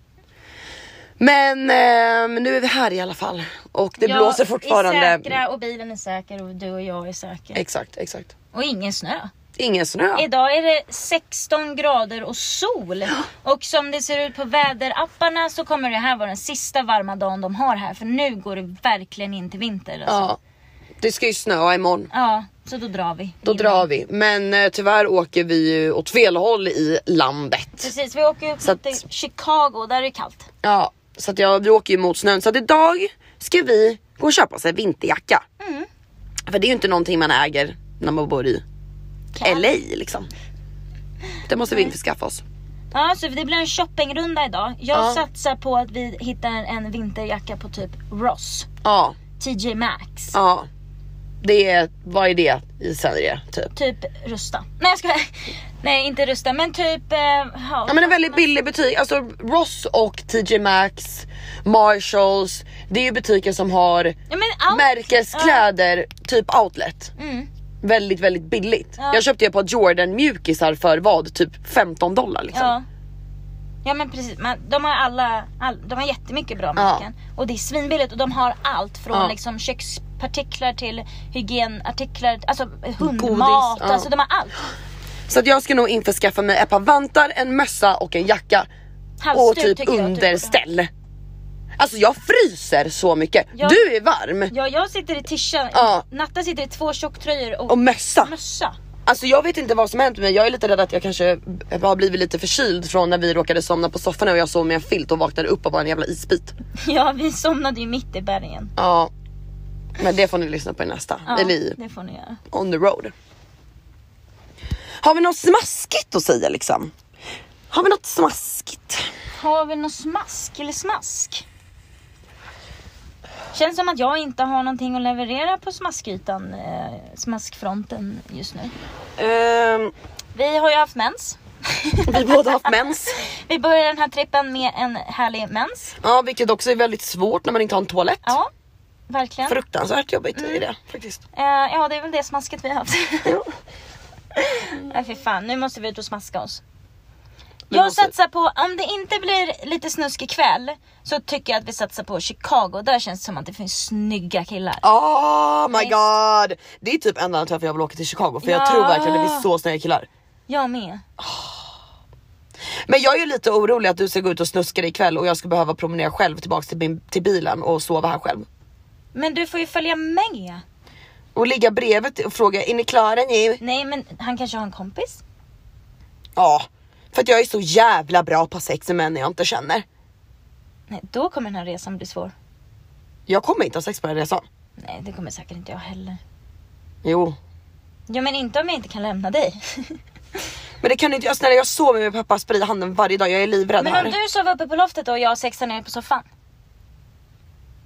Speaker 1: Men eh, nu är vi här i alla fall och det
Speaker 2: Jag
Speaker 1: blåser
Speaker 2: är
Speaker 1: fortfarande.
Speaker 2: säkra och bilen är säker och du och jag är säkra.
Speaker 1: Exakt, exakt.
Speaker 2: Och ingen snö.
Speaker 1: Ingen snö.
Speaker 2: Idag är det 16 grader och sol. Och som det ser ut på väderapparna så kommer det här vara den sista varma dagen de har här. För nu går det verkligen in till vinter. Alltså.
Speaker 1: Ja. Det ska ju snöa imorgon.
Speaker 2: Ja, så då drar vi.
Speaker 1: Då drar vi. Men eh, tyvärr åker vi ju åt fel håll i landet.
Speaker 2: Precis, vi åker upp
Speaker 1: Så att-
Speaker 2: till Chicago där det är kallt.
Speaker 1: Ja, så att jag, vi åker ju mot snön. Så att idag ska vi gå och köpa oss en vinterjacka. För det är ju inte någonting man äger när man bor i LA liksom. Det måste vi införskaffa oss.
Speaker 2: Ja, så det blir en shoppingrunda idag. Jag
Speaker 1: Ja.
Speaker 2: satsar på att vi hittar en vinterjacka på typ Ross,
Speaker 1: Ja,
Speaker 2: TJ Maxx,
Speaker 1: ja. Det är, vad är det i Sverige typ?
Speaker 2: typ Rusta. Nej jag skojar. Nej inte Rusta men typ... Eh, ja,
Speaker 1: Ja men en väldigt billig butik, alltså Ross och TJ Maxx, Marshalls. Det är ju butiker som har
Speaker 2: Ja, men allt-
Speaker 1: märkeskläder, typ outlet.
Speaker 2: Mm.
Speaker 1: Väldigt väldigt billigt.
Speaker 2: Ja.
Speaker 1: Jag köpte ju ett par Jordan mjukisar för vad? Typ 15 dollar liksom.
Speaker 2: Ja. Ja men precis, men de har alla, all, de har jättemycket bra märken. Och det är svinbilligt och de har allt från
Speaker 1: Ja.
Speaker 2: liksom kökspartiklar till hygienartiklar, alltså hundmat,
Speaker 1: ja.
Speaker 2: alltså de har allt.
Speaker 1: Så att jag ska nog införskaffa mig ett par vantar, en mössa och en jacka.
Speaker 2: Halsduk
Speaker 1: och typ
Speaker 2: tycker jag att du borde ha.
Speaker 1: underställ. Alltså jag fryser så mycket.
Speaker 2: Ja.
Speaker 1: Du är varm.
Speaker 2: Ja jag sitter i tisha,
Speaker 1: Ja.
Speaker 2: Natta sitter i två tjocktröjor och,
Speaker 1: Och mössa.
Speaker 2: mössa. [laughs]
Speaker 1: Alltså jag vet inte vad som hänt med mig. Jag är lite rädd att jag kanske har blivit lite förkyld från när vi råkade somna på soffan och jag sov med en filt och vaknade upp och var en jävla isbit.
Speaker 2: Ja vi somnade ju mitt i bergen.
Speaker 1: Ja. Men det får ni lyssna på i nästa.
Speaker 2: Ja,
Speaker 1: Eller i
Speaker 2: det får ni göra.
Speaker 1: on the road. Har vi något smaskigt att säga liksom? Har vi något smaskigt?
Speaker 2: Har vi något smask eller smask? Känns som att jag inte har någonting att leverera på smaskytan, eh, smaskfronten just nu.
Speaker 1: Ehm,
Speaker 2: Vi har ju haft mens.
Speaker 1: [laughs] vi båda har haft mens.
Speaker 2: Vi börjar den här trippen med en härlig mens.
Speaker 1: Ja, vilket också är väldigt svårt när man inte har en toalett.
Speaker 2: Ja, verkligen.
Speaker 1: Fruktansvärt jobbigt är det faktiskt.
Speaker 2: Eh, ja, det är väl det smasket vi har
Speaker 1: [laughs]
Speaker 2: haft. Nej fy fan, nu måste vi ut och smaska oss.
Speaker 1: Vi
Speaker 2: Jag
Speaker 1: måste-
Speaker 2: satsar på, om det inte blir lite snusk ikväll så tycker jag att vi satsar på Chicago. Där känns det som att det finns snygga killar.
Speaker 1: Oh my god! Det är typ enda anledningen till varför jag vill åka till Chicago för jag
Speaker 2: Ja.
Speaker 1: tror verkligen det finns så snygga killar.
Speaker 2: Jag med.
Speaker 1: Men jag är ju lite orolig att du ska gå ut och snuska dig ikväll och jag ska behöva promenera själv tillbaks till, min, till bilen och sova här själv.
Speaker 2: Men du får ju följa med.
Speaker 1: Och ligga bredvid och fråga är ni klara nu?
Speaker 2: Nej men han kanske har en kompis.
Speaker 1: Ja, för att jag är så jävla bra på sex med män jag inte känner.
Speaker 2: Nej, då kommer den här resan bli svår.
Speaker 1: Jag kommer inte ha sex på den här resan.
Speaker 2: Nej, det kommer säkert inte jag heller.
Speaker 1: Jo,
Speaker 2: Ja men inte om jag inte kan
Speaker 1: [laughs]
Speaker 2: lämna dig.
Speaker 1: men det kan du inte jag snälla jag sover med pappa spray i handen varje dag. Jag är livrädd här.
Speaker 2: Men om du sov uppe på loftet och jag sexade nere på soffan.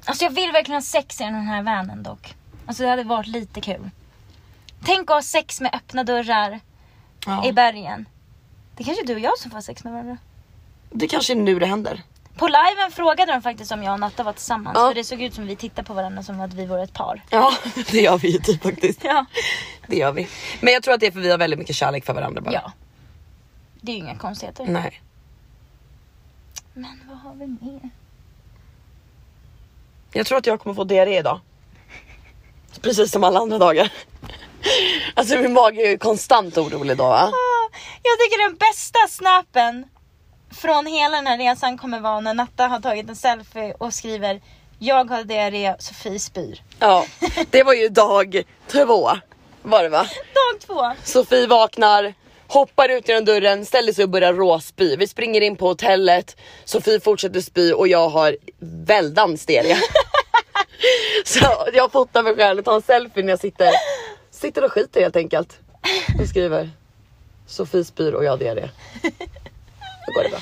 Speaker 2: Alltså jag vill verkligen ha sex i den här vanen dock. Alltså det hade varit lite kul. Tänk att ha sex med öppna dörrar i
Speaker 1: Ja.
Speaker 2: bergen. Det kanske är du och jag som får ha sex med varandra.
Speaker 1: Det kanske är nu det händer.
Speaker 2: På liven frågade de faktiskt om jag och Natta var tillsammans.
Speaker 1: Ja.
Speaker 2: För det såg ut som vi tittade på varandra som att vi vore ett par.
Speaker 1: Ja, [laughs] det gör vi ju typ faktiskt.
Speaker 2: Ja.
Speaker 1: Det gör vi. Men jag tror att det är för vi har väldigt mycket kärlek för varandra bara.
Speaker 2: ja. Det är ju inga konstigheter.
Speaker 1: Nej.
Speaker 2: Men vad har vi mer?
Speaker 1: Jag tror att jag kommer få diarré idag. Precis som alla andra dagar. [laughs] Alltså min mage är ju konstant orolig idag va?
Speaker 2: Ah, Jag tycker den bästa snappen från hela den här resan kommer vara när Natta har tagit en selfie och skriver Jag har diarré, Sofie spyr.
Speaker 1: Ja, det var ju dag två var det va?
Speaker 2: Dag två.
Speaker 1: Sofie vaknar, hoppar ut genom dörren, ställer sig och börjar råspy. Vi springer in på hotellet, Sofie fortsätter spy och jag har väldans diarré. Så jag fotar mig själv och tar en selfie när jag sitter, sitter och skiter helt enkelt. Och skriver Sofie spyr och jag har diarré. Då går det bra.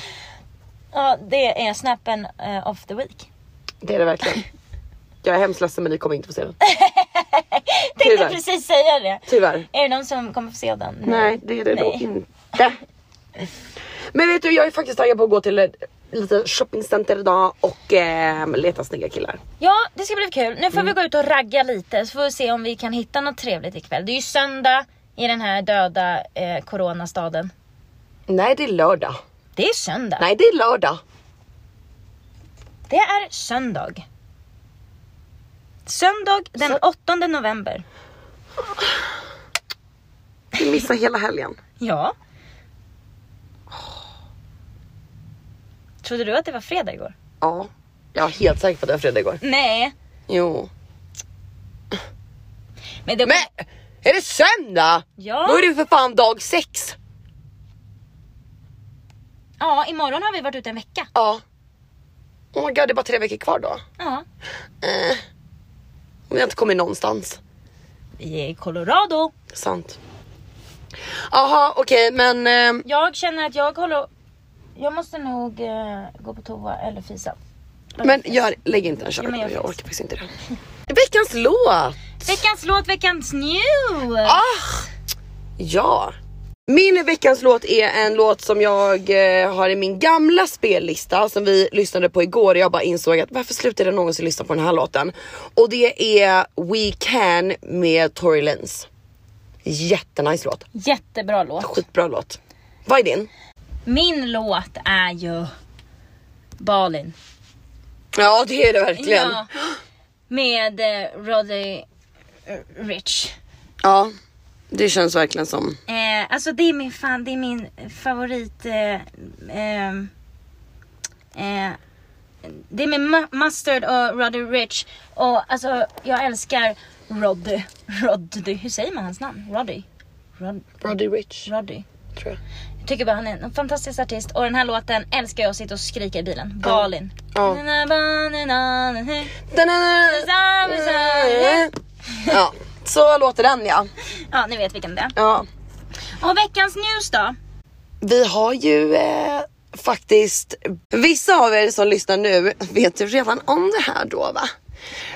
Speaker 2: Ja, det är snappen eh, of the week.
Speaker 1: Det är det verkligen. Jag är hemskt ledsen men ni kommer inte få se den.
Speaker 2: Tänkte
Speaker 1: Tyvärr.
Speaker 2: precis säga det.
Speaker 1: Tyvärr.
Speaker 2: Är det någon som kommer få se den?
Speaker 1: Eh, Nej det är det då
Speaker 2: Nej.
Speaker 1: inte. Men vet du jag är faktiskt taggad på att gå till ett litet shoppingcenter idag och eh, leta snygga killar.
Speaker 2: Ja, det ska bli kul. Nu får
Speaker 1: Mm.
Speaker 2: vi gå ut och ragga lite så får vi se om vi kan hitta något trevligt ikväll. Det är ju söndag i den här döda eh, coronastaden.
Speaker 1: Nej det är lördag.
Speaker 2: Det är söndag.
Speaker 1: Nej det är lördag.
Speaker 2: Det är söndag. Söndag den
Speaker 1: Sö-
Speaker 2: 8 november.
Speaker 1: Vi missar hela helgen.
Speaker 2: Ja. Trodde du att det var fredag igår?
Speaker 1: Ja. Jag var helt säker på att det var fredag igår.
Speaker 2: Nej.
Speaker 1: Jo.
Speaker 2: Men det
Speaker 1: Men är det söndag?
Speaker 2: Ja.
Speaker 1: Då är det ju för fan dag sex.
Speaker 2: Ja, imorgon har vi varit ute en vecka.
Speaker 1: Ja. Oh my god det är bara tre veckor kvar då.
Speaker 2: Ja.
Speaker 1: Eh. Vi har inte kommit någonstans.
Speaker 2: Vi är i Colorado.
Speaker 1: Sant. Jaha okej men ehm,
Speaker 2: Jag känner att jag håller... Jag måste nog eh, gå på toa eller fisa.
Speaker 1: Men gör, lägg inte en
Speaker 2: Jo, men
Speaker 1: körkort,
Speaker 2: jag
Speaker 1: jag
Speaker 2: fixar.
Speaker 1: orkar faktiskt inte det. Veckans låt!
Speaker 2: Veckans låt, veckans new!
Speaker 1: Ah! Ja! Min veckans låt är en låt som jag eh, har i min gamla spellista som vi lyssnade på igår och jag bara insåg att varför slutade jag någonsin lyssna på den här låten? Och det är We Can med Tory Lanez. Jättenice låt,
Speaker 2: Jättebra låt.
Speaker 1: skitbra låt. Vad är din?
Speaker 2: Min låt är ju Balin.
Speaker 1: Ja det är det verkligen.
Speaker 2: Ja. Med eh, Roddy eh, Rich.
Speaker 1: ja det känns verkligen som
Speaker 2: Eh, alltså det är min fan, det är min favorit... Eh, ehm, eh, det är med Ma- Mustard och Roddy Rich. Och alltså jag älskar Roddy. Roddy, hur säger man hans namn? Roddy? Rod,
Speaker 1: Roddy Rich
Speaker 2: Roddy.
Speaker 1: tror jag.
Speaker 2: Jag tycker bara han är en fantastisk artist och den här låten älskar jag att sitta och skrika i bilen. Balin.
Speaker 1: Ja. Ja, så låter den ja.
Speaker 2: Ja, ni vet vilken det är.
Speaker 1: ja.
Speaker 2: Och veckans news då?
Speaker 1: Vi har ju eh, faktiskt, vissa av er som lyssnar nu vet ju redan om det här då va?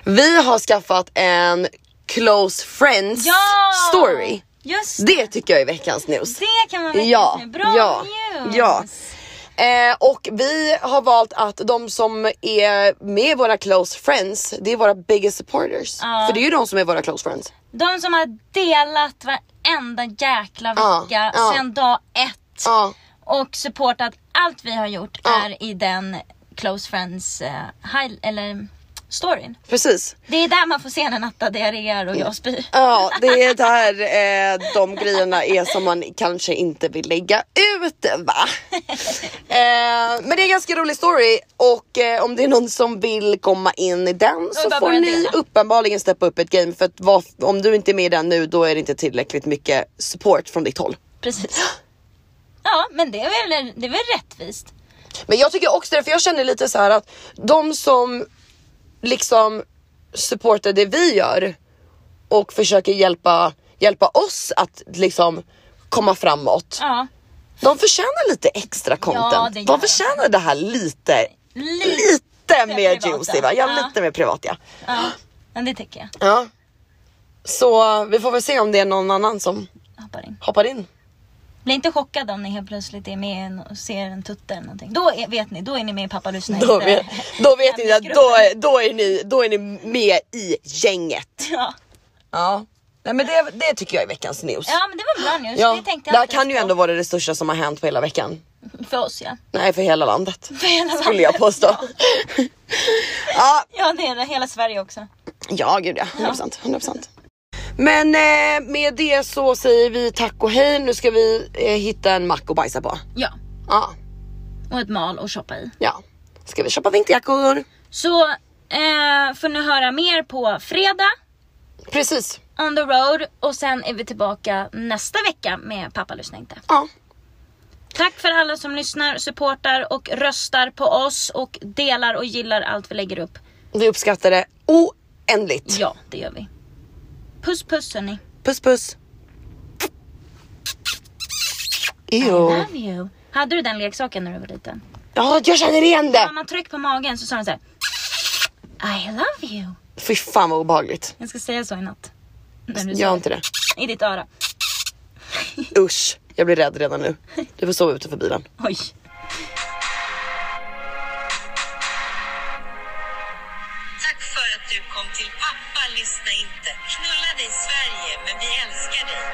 Speaker 1: Vi har skaffat en close friends
Speaker 2: Ja!
Speaker 1: story.
Speaker 2: Just det.
Speaker 1: Det tycker jag är veckans news.
Speaker 2: Det kan man veckans
Speaker 1: Ja,
Speaker 2: news. Bra
Speaker 1: ja,
Speaker 2: news.
Speaker 1: ja. Eh, och vi har valt att de som är med i våra close friends, det är våra biggest supporters.
Speaker 2: Ja.
Speaker 1: För det är ju de som är våra close friends.
Speaker 2: De som har delat varenda jäkla
Speaker 1: Ja,
Speaker 2: vecka
Speaker 1: ja.
Speaker 2: sedan dag ett
Speaker 1: Ja,
Speaker 2: och supportat allt vi har gjort
Speaker 1: Ja.
Speaker 2: är i den close friends eh, high, eller storyn.
Speaker 1: precis.
Speaker 2: Det är där man får se när Natta diarréar och jag spyr.
Speaker 1: Ja, det är där eh, de grejerna är som man kanske inte vill lägga ut va? Eh, men det är en ganska rolig story och eh, om det är någon som vill komma in i den så
Speaker 2: bara
Speaker 1: får
Speaker 2: börja
Speaker 1: ni
Speaker 2: dela.
Speaker 1: uppenbarligen steppa upp ett game för att vad, om du inte är med i den nu då är det inte tillräckligt mycket support från ditt håll.
Speaker 2: Precis. Ja, men det är väl, det är väl rättvist.
Speaker 1: Men jag tycker också det, för jag känner lite så här att de som liksom supportar det vi gör och försöker hjälpa, hjälpa oss att liksom komma framåt.
Speaker 2: Ja,
Speaker 1: De förtjänar lite extra
Speaker 2: Ja,
Speaker 1: content.
Speaker 2: det
Speaker 1: de
Speaker 2: gör de.
Speaker 1: förtjänar det här lite,
Speaker 2: Lite
Speaker 1: lite mer
Speaker 2: privata.
Speaker 1: juicy va? Ja,
Speaker 2: Ja.
Speaker 1: lite mer privat ja.
Speaker 2: ja. Men det tycker jag.
Speaker 1: ja. Så vi får väl se om det är någon annan som
Speaker 2: Jag Hoppar in.
Speaker 1: hoppar in.
Speaker 2: Bli inte chockad om ni helt plötsligt är med i en- och ser en tutte eller någonting. Då är, vet ni, då är ni med i pappa lyssnar
Speaker 1: Då
Speaker 2: inte.
Speaker 1: vet, då vet ni att då,
Speaker 2: Hemlighetsgruppen.
Speaker 1: är- då, är ni, då är ni med i gänget.
Speaker 2: [laughs] Ja.
Speaker 1: Ja. Nej men det, det tycker jag är veckans news.
Speaker 2: ja, men det var bra news.
Speaker 1: Ja,
Speaker 2: Det tänkte
Speaker 1: det
Speaker 2: jag
Speaker 1: här
Speaker 2: inte
Speaker 1: kan ju
Speaker 2: ens
Speaker 1: ändå
Speaker 2: på.
Speaker 1: vara det största som har hänt på hela veckan.
Speaker 2: För oss ja.
Speaker 1: Nej för hela
Speaker 2: [laughs]
Speaker 1: landet.
Speaker 2: För hela
Speaker 1: Skulle jag
Speaker 2: landet.
Speaker 1: påstå. ja,
Speaker 2: Ja, det är det. Hela Sverige också.
Speaker 1: Ja, gud ja. 100%. 100%. Men eh, med det så säger vi tack och hej. Nu ska vi eh, hitta en mack och bajsa på.
Speaker 2: Ja,
Speaker 1: Ja,
Speaker 2: och ett mal att shoppa i.
Speaker 1: ja. Ska vi köpa vinterjackor?
Speaker 2: Så eh, får ni höra mer på fredag.
Speaker 1: Precis.
Speaker 2: on the road och sen är vi tillbaka nästa vecka med Pappa lyssnar inte.
Speaker 1: Ja.
Speaker 2: Tack för alla som lyssnar, supportar och röstar på oss och delar och gillar allt vi lägger upp.
Speaker 1: Vi uppskattar det oändligt.
Speaker 2: Ja, det gör vi. Puss puss hörni.
Speaker 1: Puss puss.
Speaker 2: I
Speaker 1: Jo.
Speaker 2: love you. Hade du den leksaken när du var liten?
Speaker 1: Ja, jag känner igen
Speaker 2: Ja,
Speaker 1: det.
Speaker 2: man tryck på magen så sa den så här. I love you.
Speaker 1: Fy fan vad obehagligt.
Speaker 2: Jag ska säga så i natt. När du
Speaker 1: Gör
Speaker 2: sover.
Speaker 1: inte det.
Speaker 2: I ditt öra.
Speaker 1: Usch, jag blir rädd redan nu. Du får sova utanför bilen.
Speaker 2: Oj.
Speaker 5: Tack för att du kom till Pappa lyssna inte. Knulla dig Sverige, men vi älskar dig.